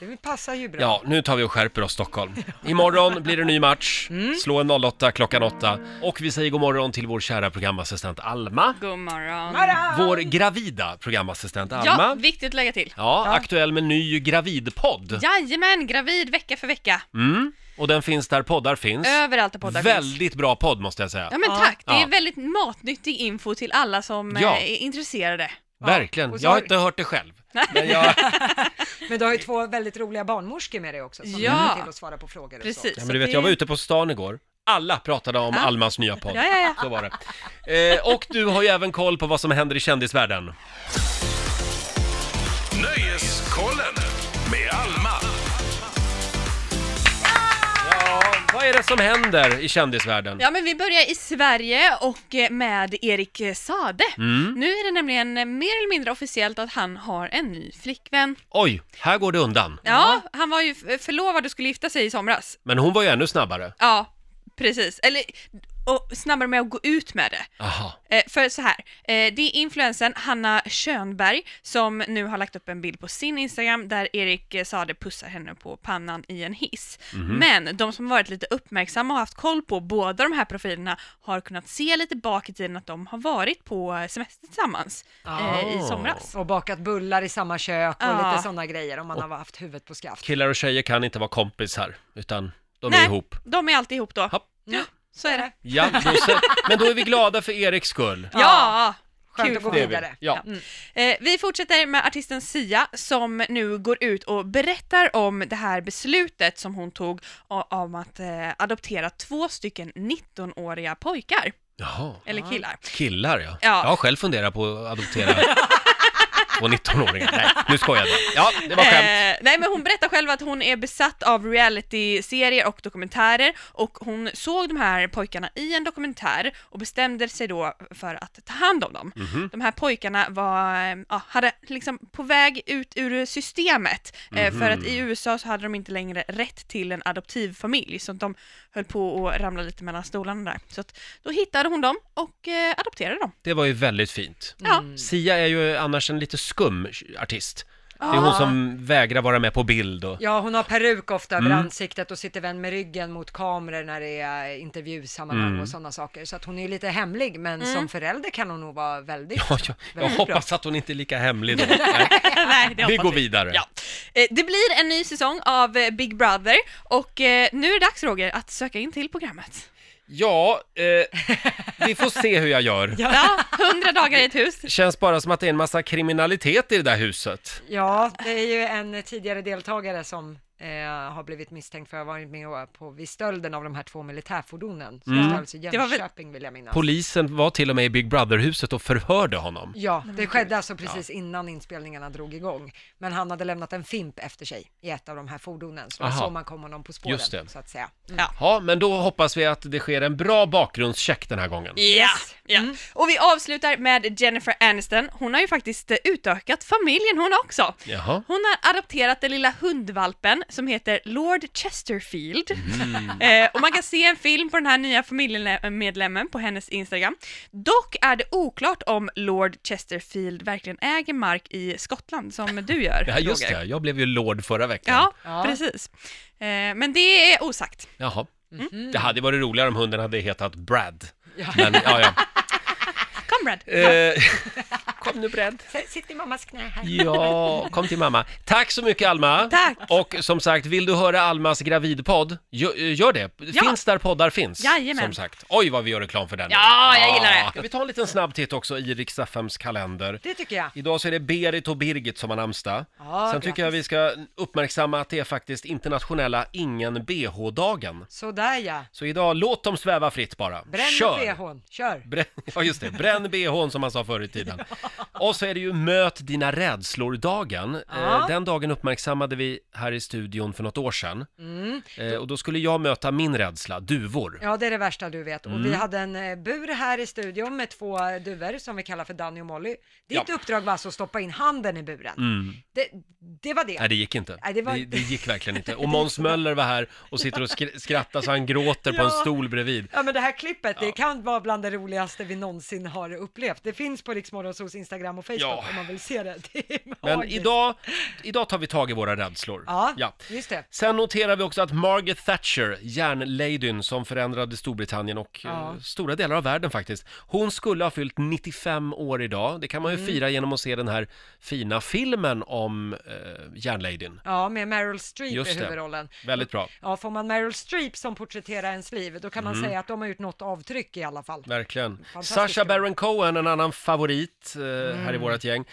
Det passar ju bra.
Mm. Ja, nu tar vi och skärper oss Stockholm. Imorgon blir det ny match. Slå en 08 klockan 8. Och vi säger god morgon till vår kära programassistent Alma.
God morgon.
Vår gravida programassistent
Ja,
Alma.
viktigt att lägga till.
Ja, aktuell med ny gravidpodd.
Jajamän, gravid vecka för vecka.
Mm. Och den finns där poddar finns.
Överallt där poddar finns.
Mm. Väldigt bra podd måste jag säga.
Ja men tack, det
Ja.
är väldigt matnyttig info till alla som eh,
Ja.
är intresserade.
Verkligen.
Och så
Jag har
har-
inte hört det själv.
Men du har ju två väldigt roliga barnmorskor med dig också som
Ja.
hjälper till att svara på frågor och så.
Precis.
Ja, men du vet, jag var ute på stan igår. Alla pratade om
Ja.
Almas nya podd.
Ja, ja, ja.
Så var det. Eh, och du har ju även koll på vad som händer i kändisvärlden.
Nöjeskollen med Alma.
Vad är det som händer i kändisvärlden?
Ja, men vi börjar i Sverige och eh, med Erik Sade.
Mm.
Nu är det nämligen eh, mer eller mindre officiellt att han har en ny flickvän.
Oj, här går det undan.
Ja, han var ju f- förlovad och skulle gifta sig i somras.
Men hon var ju ännu snabbare.
Ja, precis. Eller och snabbare med att gå ut med det.
Aha.
Eh, för så här, eh, det är influensen Hanna Könberg som nu har lagt upp en bild på sin Instagram där Erik eh, Sade pussar henne på pannan i en hiss.
Mhm.
Men de som varit lite uppmärksamma och haft koll på båda de här profilerna har kunnat se lite bak i tiden att de har varit på eh, semester tillsammans
Ah.
eh, i somras.
Och bakat bullar i samma kök och
Ja.
lite sådana grejer om man har haft huvudet på skaft.
Killar och tjejer kan inte vara kompisar, utan de
Nej.
är ihop.
De är alltid ihop då. Ja, så är det.
Ja, då så, men då är vi glada för Eriks skull.
Ja!
Skönt
kul
att gå
för dig.
vidare. Ja. Mm.
Eh, vi fortsätter med artisten Sia som nu går ut och berättar om det här beslutet som hon tog o- om att eh, adoptera två stycken 19-åriga pojkar.
Jaha.
Eller killar.
Killar, ja.
Ja.
Jag har själv funderat på att adoptera två 19-åringar. Nej, nu skojar jag bara. Ja, det var skämt.
Eh, nej men hon berättar själv att hon är besatt av reality-serier och dokumentärer och hon såg de här pojkarna i en dokumentär och bestämde sig då för att ta hand om dem.
Mhm.
De här pojkarna var, eh, ja, hade liksom på väg ut ur systemet eh, för att i
Mhm.
USA så hade de inte längre rätt till en adoptivfamilj så att de höll på att ramla lite mellan stolarna där. Så att då hittade hon dem och eh, adopterade dem.
Det var ju väldigt fint.
Ja.
Sia är ju annars en lite skum artist. Det är
Ah.
Ja.
hon som vägrar vara med på bild och...
Ja, hon har peruk ofta över
Mm.
ansiktet och sitter vänd med ryggen mot kameror när det är intervjusammanhang
Mm.
och sådana saker. Så att hon är ju lite hemlig, men
Mm.
som förälder kan hon nog vara väldigt,
Ja, jag, jag
väldigt bra.
hoppas att hon inte är lika
<laughs>
hemlig då. Nej.
Nej, det
Vi
hoppas
går vidare.
Ja. Eh, Det blir en ny säsong av eh, Big Brother och eh, nu är det dags Roger att söka in till programmet.
Ja, eh, vi får se hur jag gör.
<laughs> Ja, 100 dagar i ett hus.
Känns bara som att det är en massa kriminalitet i det där huset.
Ja, det är ju en tidigare deltagare som eh, har blivit misstänkt för att ha varit med och- på, vid stölden av de här två militärfordonen. Som
Mm.
stals i
Det var väl-
alltså Jönköping vill jag minnas.
Polisen var till och med i Big Brother-huset och förhörde honom.
Ja, det skedde alltså precis
Ja.
innan inspelningarna drog igång. Men han hade lämnat en fimp efter sig i ett av de här fordonen, så det var
Aha.
så man kom honom på spåren,
Just det.
så att säga.
Ja.
Ja, men då hoppas vi att det sker en bra bakgrundscheck den här gången.
Ja, ja. Mm. Och vi avslutar med Jennifer Aniston. Hon har ju faktiskt eh, utökat familjen hon också.
Jaha.
Hon har adopterat den lilla hundvalpen som heter Lord Chesterfield.
Mm.
<laughs> Eh, och man kan se en film på den här nya familjemedlemmen på hennes Instagram. Dock är det oklart om Lord Chesterfield verkligen äger mark i Skottland som du gör.
Ja, just
Roger.
det. Jag blev ju lord förra veckan.
Ja, precis. Eh, men det är osagt.
Jaha.
Mhm.
Det hade varit roligare om hunden hade hetat Brad.
Ja.
Men, ja,
<laughs>
ja.
Kom Brad.
Eh, Kom nu Brad.
Sitt i mammas knä här.
ja, kom till mamma. Tack så mycket Alma.
Tack.
Och som sagt, vill du höra Almas gravidpodd, gö- gör det.
Ja.
Finns där poddar finns.
Jajamän.
Som sagt. Oj, vad vi gör reklam för den. Ah.
Ja, jag gillar det.
Ska vi ta en liten snabb titt också i Riks-FMs kalender?
Det tycker jag.
Idag så är det Berit och Birgit som har namnsdag.
Ja,
Sen tycker jag vi ska uppmärksamma att det är faktiskt internationella ingen-bh-dagen.
Sådär ja.
Så idag, låt dem sväva fritt bara.
Bränn
Kör!
Kör. bhn, kör!
Bränn, <laughs> ja just det, bränn bhn som man sa förr i tiden. Och så är det ju möt dina rädslor-dagen.
Ja.
Eh, Den dagen uppmärksammade vi här i studion för något år sedan.
Mm.
Eh, och då skulle jag möta min rädsla, duvor.
Ja, det är det värsta du vet. Och vi
Mm.
hade en eh, bur här i studion med två eh, duvor som vi kallar för Danny och Molly. Ditt
Ja.
uppdrag var alltså att stoppa in handen i buren.
Mm.
Det, det var det.
Nej, det gick inte.
Nej, det var-
det, det gick verkligen inte. Och Måns Möller var här och sitter och skr- skrattar så han gråter på en
Ja.
stol bredvid.
Ja men det här klippet, det kan vara bland det roligaste vi någonsin har upplevt. Det finns på Riksmorgonsols Instagram och Facebook
Ja.
om man vill se det. <laughs> det är
Men
magiskt.
idag, idag tar vi tag i våra rädslor.
Ja, just det.
Sen noterar vi också att Margaret Thatcher, järnladyn som förändrade Storbritannien och
Ja.
eh, stora delar av världen faktiskt, hon skulle ha fyllt 95 år idag. Det kan man ju
Mm.
fira genom att se den här fina filmen om eh, järnladyn.
Ja, med Meryl Streep i
Just det.
huvudrollen.
Väldigt bra.
Ja, får man Meryl Streep som porträtterar ens liv, då kan man
Mm.
säga att de har gjort något avtryck i alla fall.
Verkligen.
Fantastisk
Sacha Baron Cohen, en annan favorit eh, här i
Mm.
vårt gäng.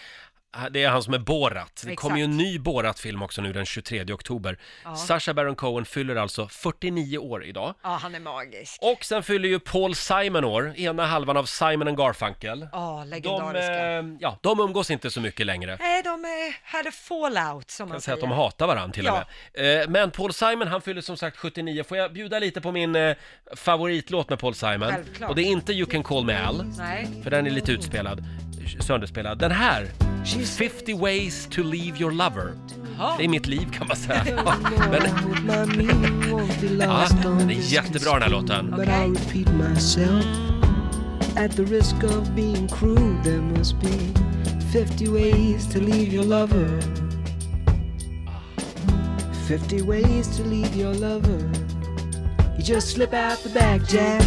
det är han som är Borat. Det
Exakt.
kommer ju en ny Borat-film också nu den 23 oktober.
Ja.
Sacha Baron Cohen fyller alltså 49 år idag.
Ja, han är magisk.
Och sen fyller ju Paul Simon år, ena halvan av Simon and Garfunkel.
Ja,
De,
legendariska.
eh, ja, de umgås inte så mycket längre.
Nej, de eh, hade fallout som
Jag
man
kan säga
säger.
att de hatar varandra till och
Ja.
med. Eh, Men Paul Simon, han fyller som sagt 79. Får jag bjuda lite på min eh, favoritlåt med Paul Simon?
Självklart.
Och det är inte You Can Call Me Al,
Nej.
för den är lite utspelad, sönderspelad. Den här, 50 Ways To Leave Your Lover.
Ja.
Det är mitt liv kan man
<laughs>
säga. Men, ja, den är jättebra den här låten.
But
um,
I'll repeat myself. At the risk of being cruel, there must be 50 ways to leave your lover. 50 ways to leave your lover. You just slip out the back, Jack.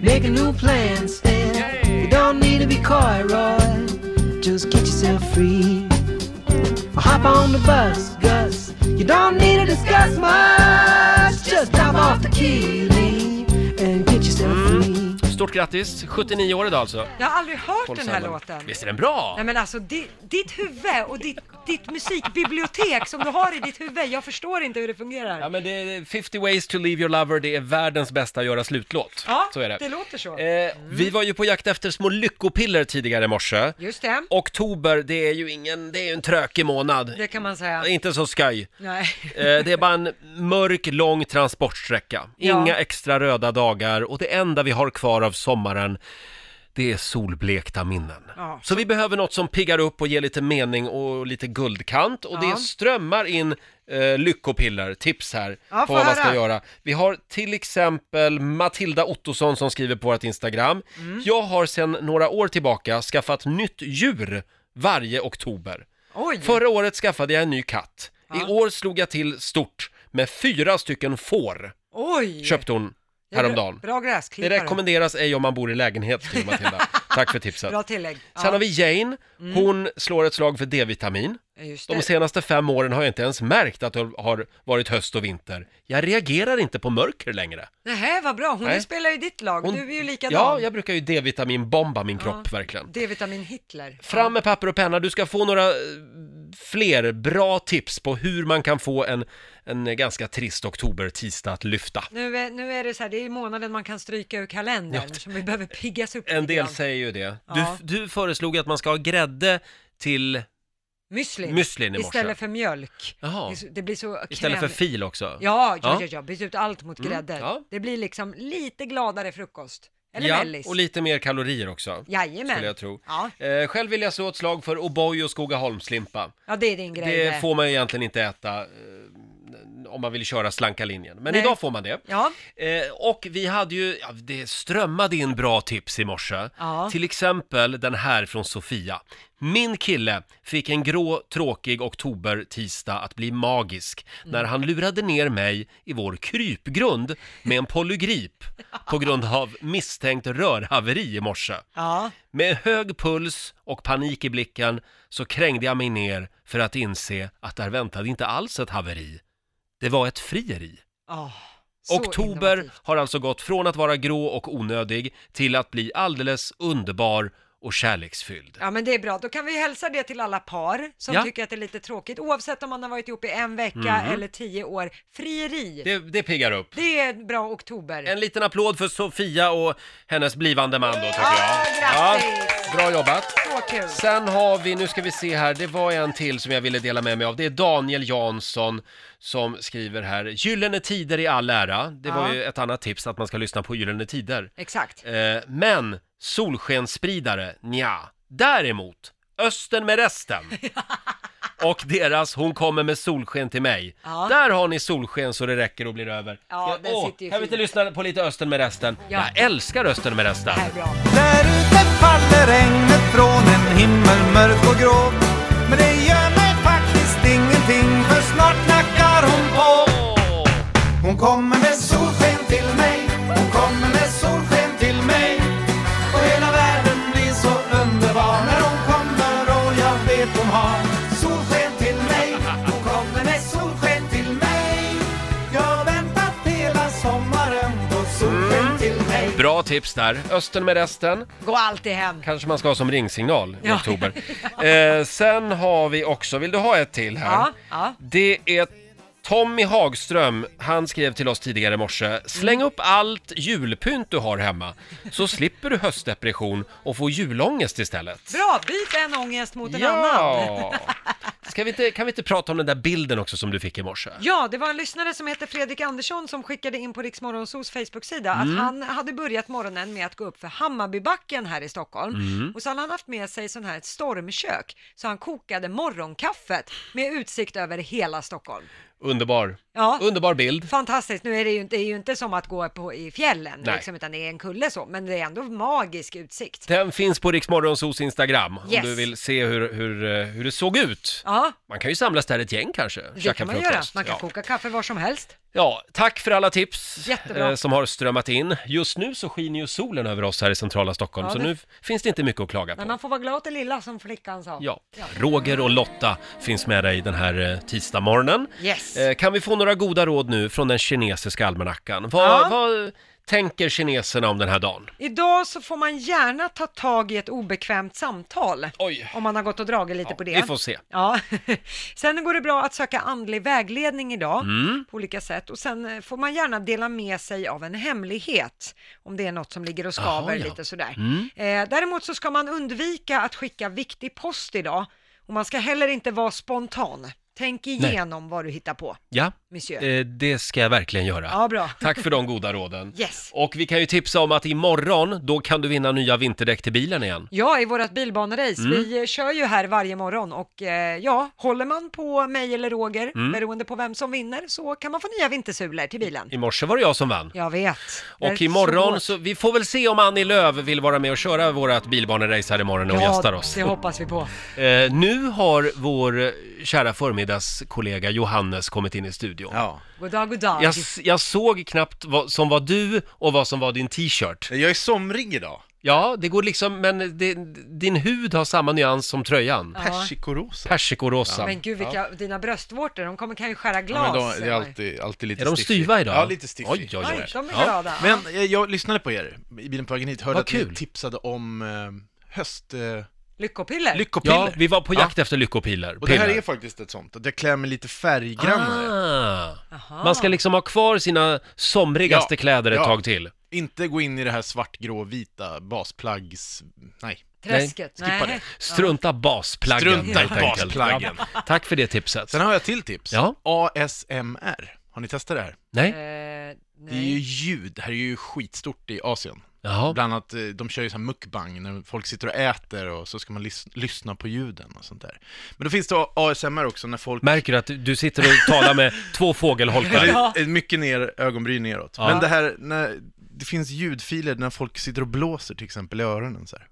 Make a new plan, Stan. You don't need to be coy, Roy. Just get yourself free. Or hop on the bus, Gus. You don't need to discuss much. Just drop off the key, leave, and get yourself free.
Stort grattis, 79 år idag alltså.
Jag har aldrig hört
Paul
den här
Simon.
låten.
Visst är den bra?
Nej men alltså di, ditt huvud och ditt, ditt musikbibliotek som du har i ditt huvud, jag förstår inte hur det fungerar.
Ja men det är 50 ways to leave your lover, det är världens bästa göra slutlåt.
Ja,
så är det.
det låter så. Mm.
Eh, Vi var ju på jakt efter små lyckopiller tidigare i morse.
Just det,
Oktober, det är ju ingen, det är ju en trökig månad.
det kan man säga.
Inte så skoj.
Nej.
Eh, Det är bara en mörk, lång transportsträcka.
Ja.
Inga extra röda dagar och det enda vi har kvar av sommaren, det är solblekta minnen.
Ja.
Så vi behöver något som piggar upp och ger lite mening och lite guldkant. Och
Ja.
det strömmar in eh, lyckopiller, tips här
Ja,
på
få
vad man ska
höra.
göra. Vi har till exempel Matilda Ottosson som skriver på vårt Instagram.
Mm.
Jag har sedan några år tillbaka skaffat nytt djur varje oktober.
Oj.
Förra året skaffade jag en ny katt. I år slog jag till stort med fyra stycken får,
Oj!
köpte hon
Det är
häromdagen.
Bra, bra
Det
gräsklippare.
rekommenderas ej om man bor i lägenhet, skriver
<laughs>
Matilda. Tack för tipset.
Bra tillägg. Ja.
Sen har vi Jane,
Mm.
hon slår ett slag för D-vitamin.
Just
De
det.
senaste fem åren har jag inte ens märkt att det har varit höst och vinter. Jag reagerar inte på mörker längre.
Nähä, vad bra. Hon
Nej.
spelar ju ditt lag.
Hon-
Du är ju likadan.
Ja, jag brukar ju D-vitaminbomba min kropp verkligen.
D-vitamin Hitler.
Fram med papper och penna, du ska få några eh, fler bra tips på hur man kan få en, en ganska trist oktober-tisdag att lyfta.
Nu är, nu är det så här, det är månaden man kan stryka ur kalendern
Ja.
som vi behöver piggas upp
En
lite
del
grann.
säger ju det.
Ja.
Du, du föreslog att man ska ha grädde till,
Müslin.
müslin i morse.
Istället för mjölk.
Jaha.
Det är så- Det blir så
istället för
krämigt.
fil också.
Ja, ja, ja, ja, byt ut allt mot
Mm,
grädde.
ja.
Det blir liksom lite gladare frukost. Eller
Ja,
mellis.
och lite mer kalorier också.
Jajamän.
Skulle jag tro.
Ja.
Eh, själv vill jag slå ett slag för O'boy och Skogaholmslimpa.
ja, det är din grej. eh.
Det får man ju egentligen inte äta eh, om man vill köra slanka linjen. Men
Nej.
idag får man det.
Ja.
Eh, och vi hade ju, ja, det strömmade in bra tips i morse.
Ja.
Till exempel den här från Sofia. Min kille fick en grå, tråkig oktober-tisdag att bli magisk när han lurade ner mig i vår krypgrund med en polygrip på grund av misstänkt rörhaveri i morse.
Ja.
Med hög puls och panik i blicken så krängde jag mig ner för att inse att där väntade inte alls ett haveri. Det var ett frieri.
Ah, så
Oktober har alltså gått från att vara grå och onödig till att bli alldeles underbar och kärleksfylld.
Ja men det är bra, då kan vi hälsa det till alla par som
Ja.
tycker att det är lite tråkigt oavsett om man har varit ihop i en vecka
Mhm.
eller tio år. Frieri, det...
Det, det piggar upp.
är en bra oktober.
En liten applåd för Sofia och hennes blivande man då tycker
Ja,
jag.
grattis!
bra jobbat!
Så kul!
Sen har vi, nu ska vi se här, det var en till som jag ville dela med mig av. Det är Daniel Jansson som skriver här, Gyllene Tider i all ära. Det var
Ja.
ju ett annat tips att man ska lyssna på Gyllene Tider.
Exakt.
Eh, men solskensspridare, nja. Däremot, Östen med
<laughs>
resten. Och deras Hon kommer med solsken till mig.
Ja.
Där har ni solsken så det räcker och blir över.
Ja, den
åh,
sitter ju
kan vi
fint.
inte lyssna på lite Östen med resten?
Ja.
Jag älskar Östen med resten.
Där ute faller regnet från en himmel mörk och grå Men det gör mig faktiskt ingenting för snart knackar hon på Hon kommer med solsken till mig Hon kommer med solsken till mig Och hela världen blir så underbar när hon kommer och jag vet hon har solsken till mig Hon kommer med solsken till mig Jag har väntat hela sommaren på solsken till mig
Bra tips där. Östen med resten.
Gå alltid hem.
Kanske man ska ha som ringsignal i
Ja.
oktober. Eh, sen har vi också, vill du ha ett till här?
Ja, ja.
Det är Tommy Hagström, han skrev till oss tidigare i morse. Släng
Mm.
upp allt julpynt du har hemma, så slipper du höstdepression och får julångest istället.
Bra, byt en ångest mot en annan.
Ja! Ska vi inte, kan vi inte prata om den där bilden också som du fick i morse?
Ja, det var en lyssnare som heter Fredrik Andersson som skickade in på Riksmorgonsos Facebook-sida
Mm.
att han hade börjat morgonen med att gå upp för Hammarbybacken här i Stockholm
Mm.
och så hade han haft med sig sån här ett stormkök så han kokade morgonkaffet med utsikt över hela Stockholm.
Underbar.
Ja.
Underbar bild.
Fantastiskt, nu är det ju inte, det är ju inte som att gå på, i fjällen
Nej.
liksom, utan det är en kulle så, men det är ändå magisk utsikt.
Den finns på Riksmorgonsos Instagram
Yes.
om du vill se hur, hur, eh, hur det såg ut.
Ja,
Man kan ju samlas där ett gäng kanske.
det
käka
kan man göra.
frukost.
Man kan
ja.
koka kaffe var som helst.
ja, tack för alla tips
Jättebra.
eh, som har strömmat in. Just nu så skiner ju solen över oss här i centrala Stockholm
Ja,
så
det-
nu f- finns det inte mycket att klaga på.
Men man får vara glad åt det lilla som flickan sa.
Ja. Roger och Lotta finns med dig den här eh, tisdagsmorgonen.
Yes.
Eh, Kan vi få några goda råd nu från den kinesiska almanackan? Vad,
Ja.
vad tänker kineserna om den här dagen?
Idag så får man gärna ta tag i ett obekvämt samtal. Om man har gått och dragit lite på det.
Vi får se.
Ja. <laughs> Sen går det bra att söka andlig vägledning idag
Mm.
på olika sätt och sen eh, får man gärna dela med sig av en hemlighet om det är något som ligger och skaver
Jaha, ja.
lite sådär.
Mm.
Eh, däremot så ska man undvika att skicka viktig post idag och man ska heller inte vara spontan. Tänk igenom vad du hittar på.
Ja,
Monsieur.
eh, det ska jag verkligen göra.
Ja, bra.
Tack för de goda
<laughs>
råden.
Yes.
Och vi kan ju tipsa om att imorgon, då kan du vinna nya vinterdäck till bilen igen.
Ja, i vårt bilbanerace.
Mm.
Vi eh, kör ju här varje morgon och eh, ja, håller man på mig eller Roger,
Mm.
beroende på vem som vinner, så kan man få nya vintersulor till bilen.
I morse var det jag som vann.
Jag vet. Det är
Och
så
imorgon
hårt.
så, vi får väl se om Annie Lööf vill vara med och köra vårat bilbanerace här imorgon och gästar oss.
det hoppas vi på.
Eh, nu har vår eh, kära förmiddagskollega Johannes kommit in i studion.
God dag, god dag.
Jag, s- jag såg knappt vad som var du och vad som var din t-shirt.
Jag är somrig idag.
Ja, det går liksom, men det, din hud har samma nyans som tröjan.
Ja. Persikorosa.
Persikorosa.
Men gud, vilka, dina bröstvårtor, de kommer, kan ju skära
Ja,
glas.
men de, det
ser
är
man ju.
alltid, alltid lite
Är de
stiffig.
styva idag?
Ja, lite stiffig.
Oj, oj, oj. Oj,
de är Ja. glada.
Men eh, jag lyssnade på er i bilen på vägen hit, hörde
Vad
att ni
kul.
tipsade om eh, höst... Eh,
Lyckopiller.
lyckopiller.
Ja, vi var på jakt efter lyckopiler.
Och det här
Piller.
är faktiskt ett sånt, att jag klär mig lite färggrannare.
Ah. Man ska liksom ha kvar sina somrigaste kläder ett
ja. Äh.
tag till.
Inte gå in i det här svartgrå-vita basplaggs... Nej.
Träsket,
Nej. Skippa
nej.
det.
Strunta basplaggen
Strunta i
helt enkelt.
basplaggen.
Ja. Tack för det tipset.
Sen har jag ett till tips.
Ja.
ASMR. Har ni testat det här?
Nej.
Eh.
Det är ju ljud. Det här är ju skitstort i Asien.
Jaha.
Bland annat, eh, de kör ju så här mukbang, när folk sitter och äter och så ska man lys- lyssna på ljuden och sånt där. Men då finns det ASMR också när folk...
Märker du att du- du sitter och talar
<laughs>
med två fågelholkar?
Ja. det är eh, Mycket ner, ögonbryn neråt.
Ja.
Men det här, när, det finns ljudfiler när folk sitter och blåser till exempel i öronen så här.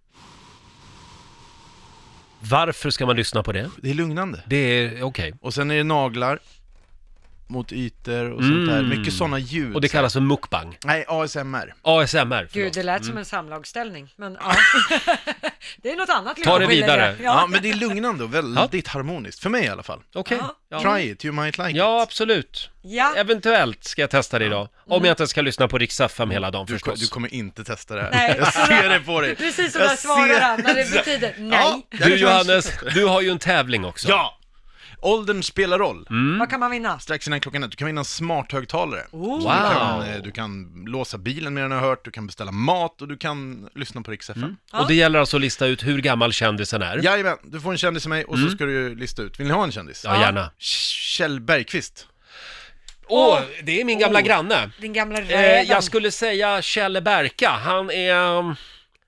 Varför ska man lyssna på det?
Det är lugnande.
Det är okej.
Och sen är det naglar mot ytor och sånt där. Mycket sådana ljud.
Mm. Och det kallas för mukbang?
Nej, ASMR.
ASMR,
Gud,
förlåt.
det lät som en samlagställning, men ja. <laughs> det är något annat. lyckopiller
Ja.
Ja.
men det är lugnande och väldigt harmoniskt. För mig i alla fall.
Okej.
Ja.
Try it, you might like
Ja, absolut.
Ja.
Eventuellt ska jag testa det idag. Om
Mm.
jag inte ska lyssna på Rix FM hela dagen
Du,
förstås.
du kommer inte testa det här.
Nej.
Jag ser det på
Det är
dig.
precis så
Jag
där svarar
ser-
han när det betyder nej.
Du Johannes, du har ju en tävling också.
Ja! Åldern spelar roll.
Mm.
Vad kan man vinna?
Strax innan klockan ett, du kan vinna en smarthögtalare.
Oh.
Så Du, kan,
Wow.
eh, du kan låsa bilen med den har hört, du kan beställa mat och du kan lyssna på Rix FM.
Och det gäller alltså att lista ut hur gammal kändisen är.
Jajamän, du får en kändis av mig och
Mm.
så ska du lista ut. Vill ni ha en kändis?
Ja, gärna.
Kjell Bergqvist.
Åh, det är min gamla
Åh.
granne.
Din gamla
Eh,
räven.
jag skulle säga Kjell Berka. Han är... um,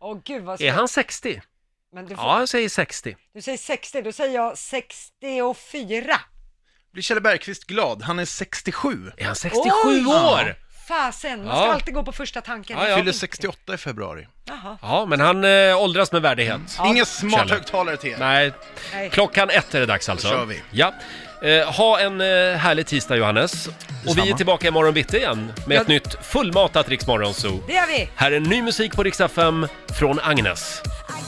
Åh gud vad
Är
svårt.
han 60?
Men du, får...
Eh, Ja, jag säger 60.
du säger 60, då säger jag 64.
Blir Kjell Bergqvist glad? Han är 67.
Är han
67 år? Fasen, man ska
Ja.
alltid gå på första tanken.
Han fyller 68 i februari.
Jaha.
Ja, men han eh, åldras med värdighet.
Inga
Kjell.
smarthögtalare till er.
Nej.
Nej.
klockan ett är det dags alltså.
Då kör vi.
Ja. Eh, ha en eh, härlig tisdag Johannes. Och vi är
Detsamma.
tillbaka imorgon bitti igen med
Ja.
ett nytt fullmatat Riksmorgonzoo.
Det gör vi!
Här är ny musik på Rix FM från Agnes.
I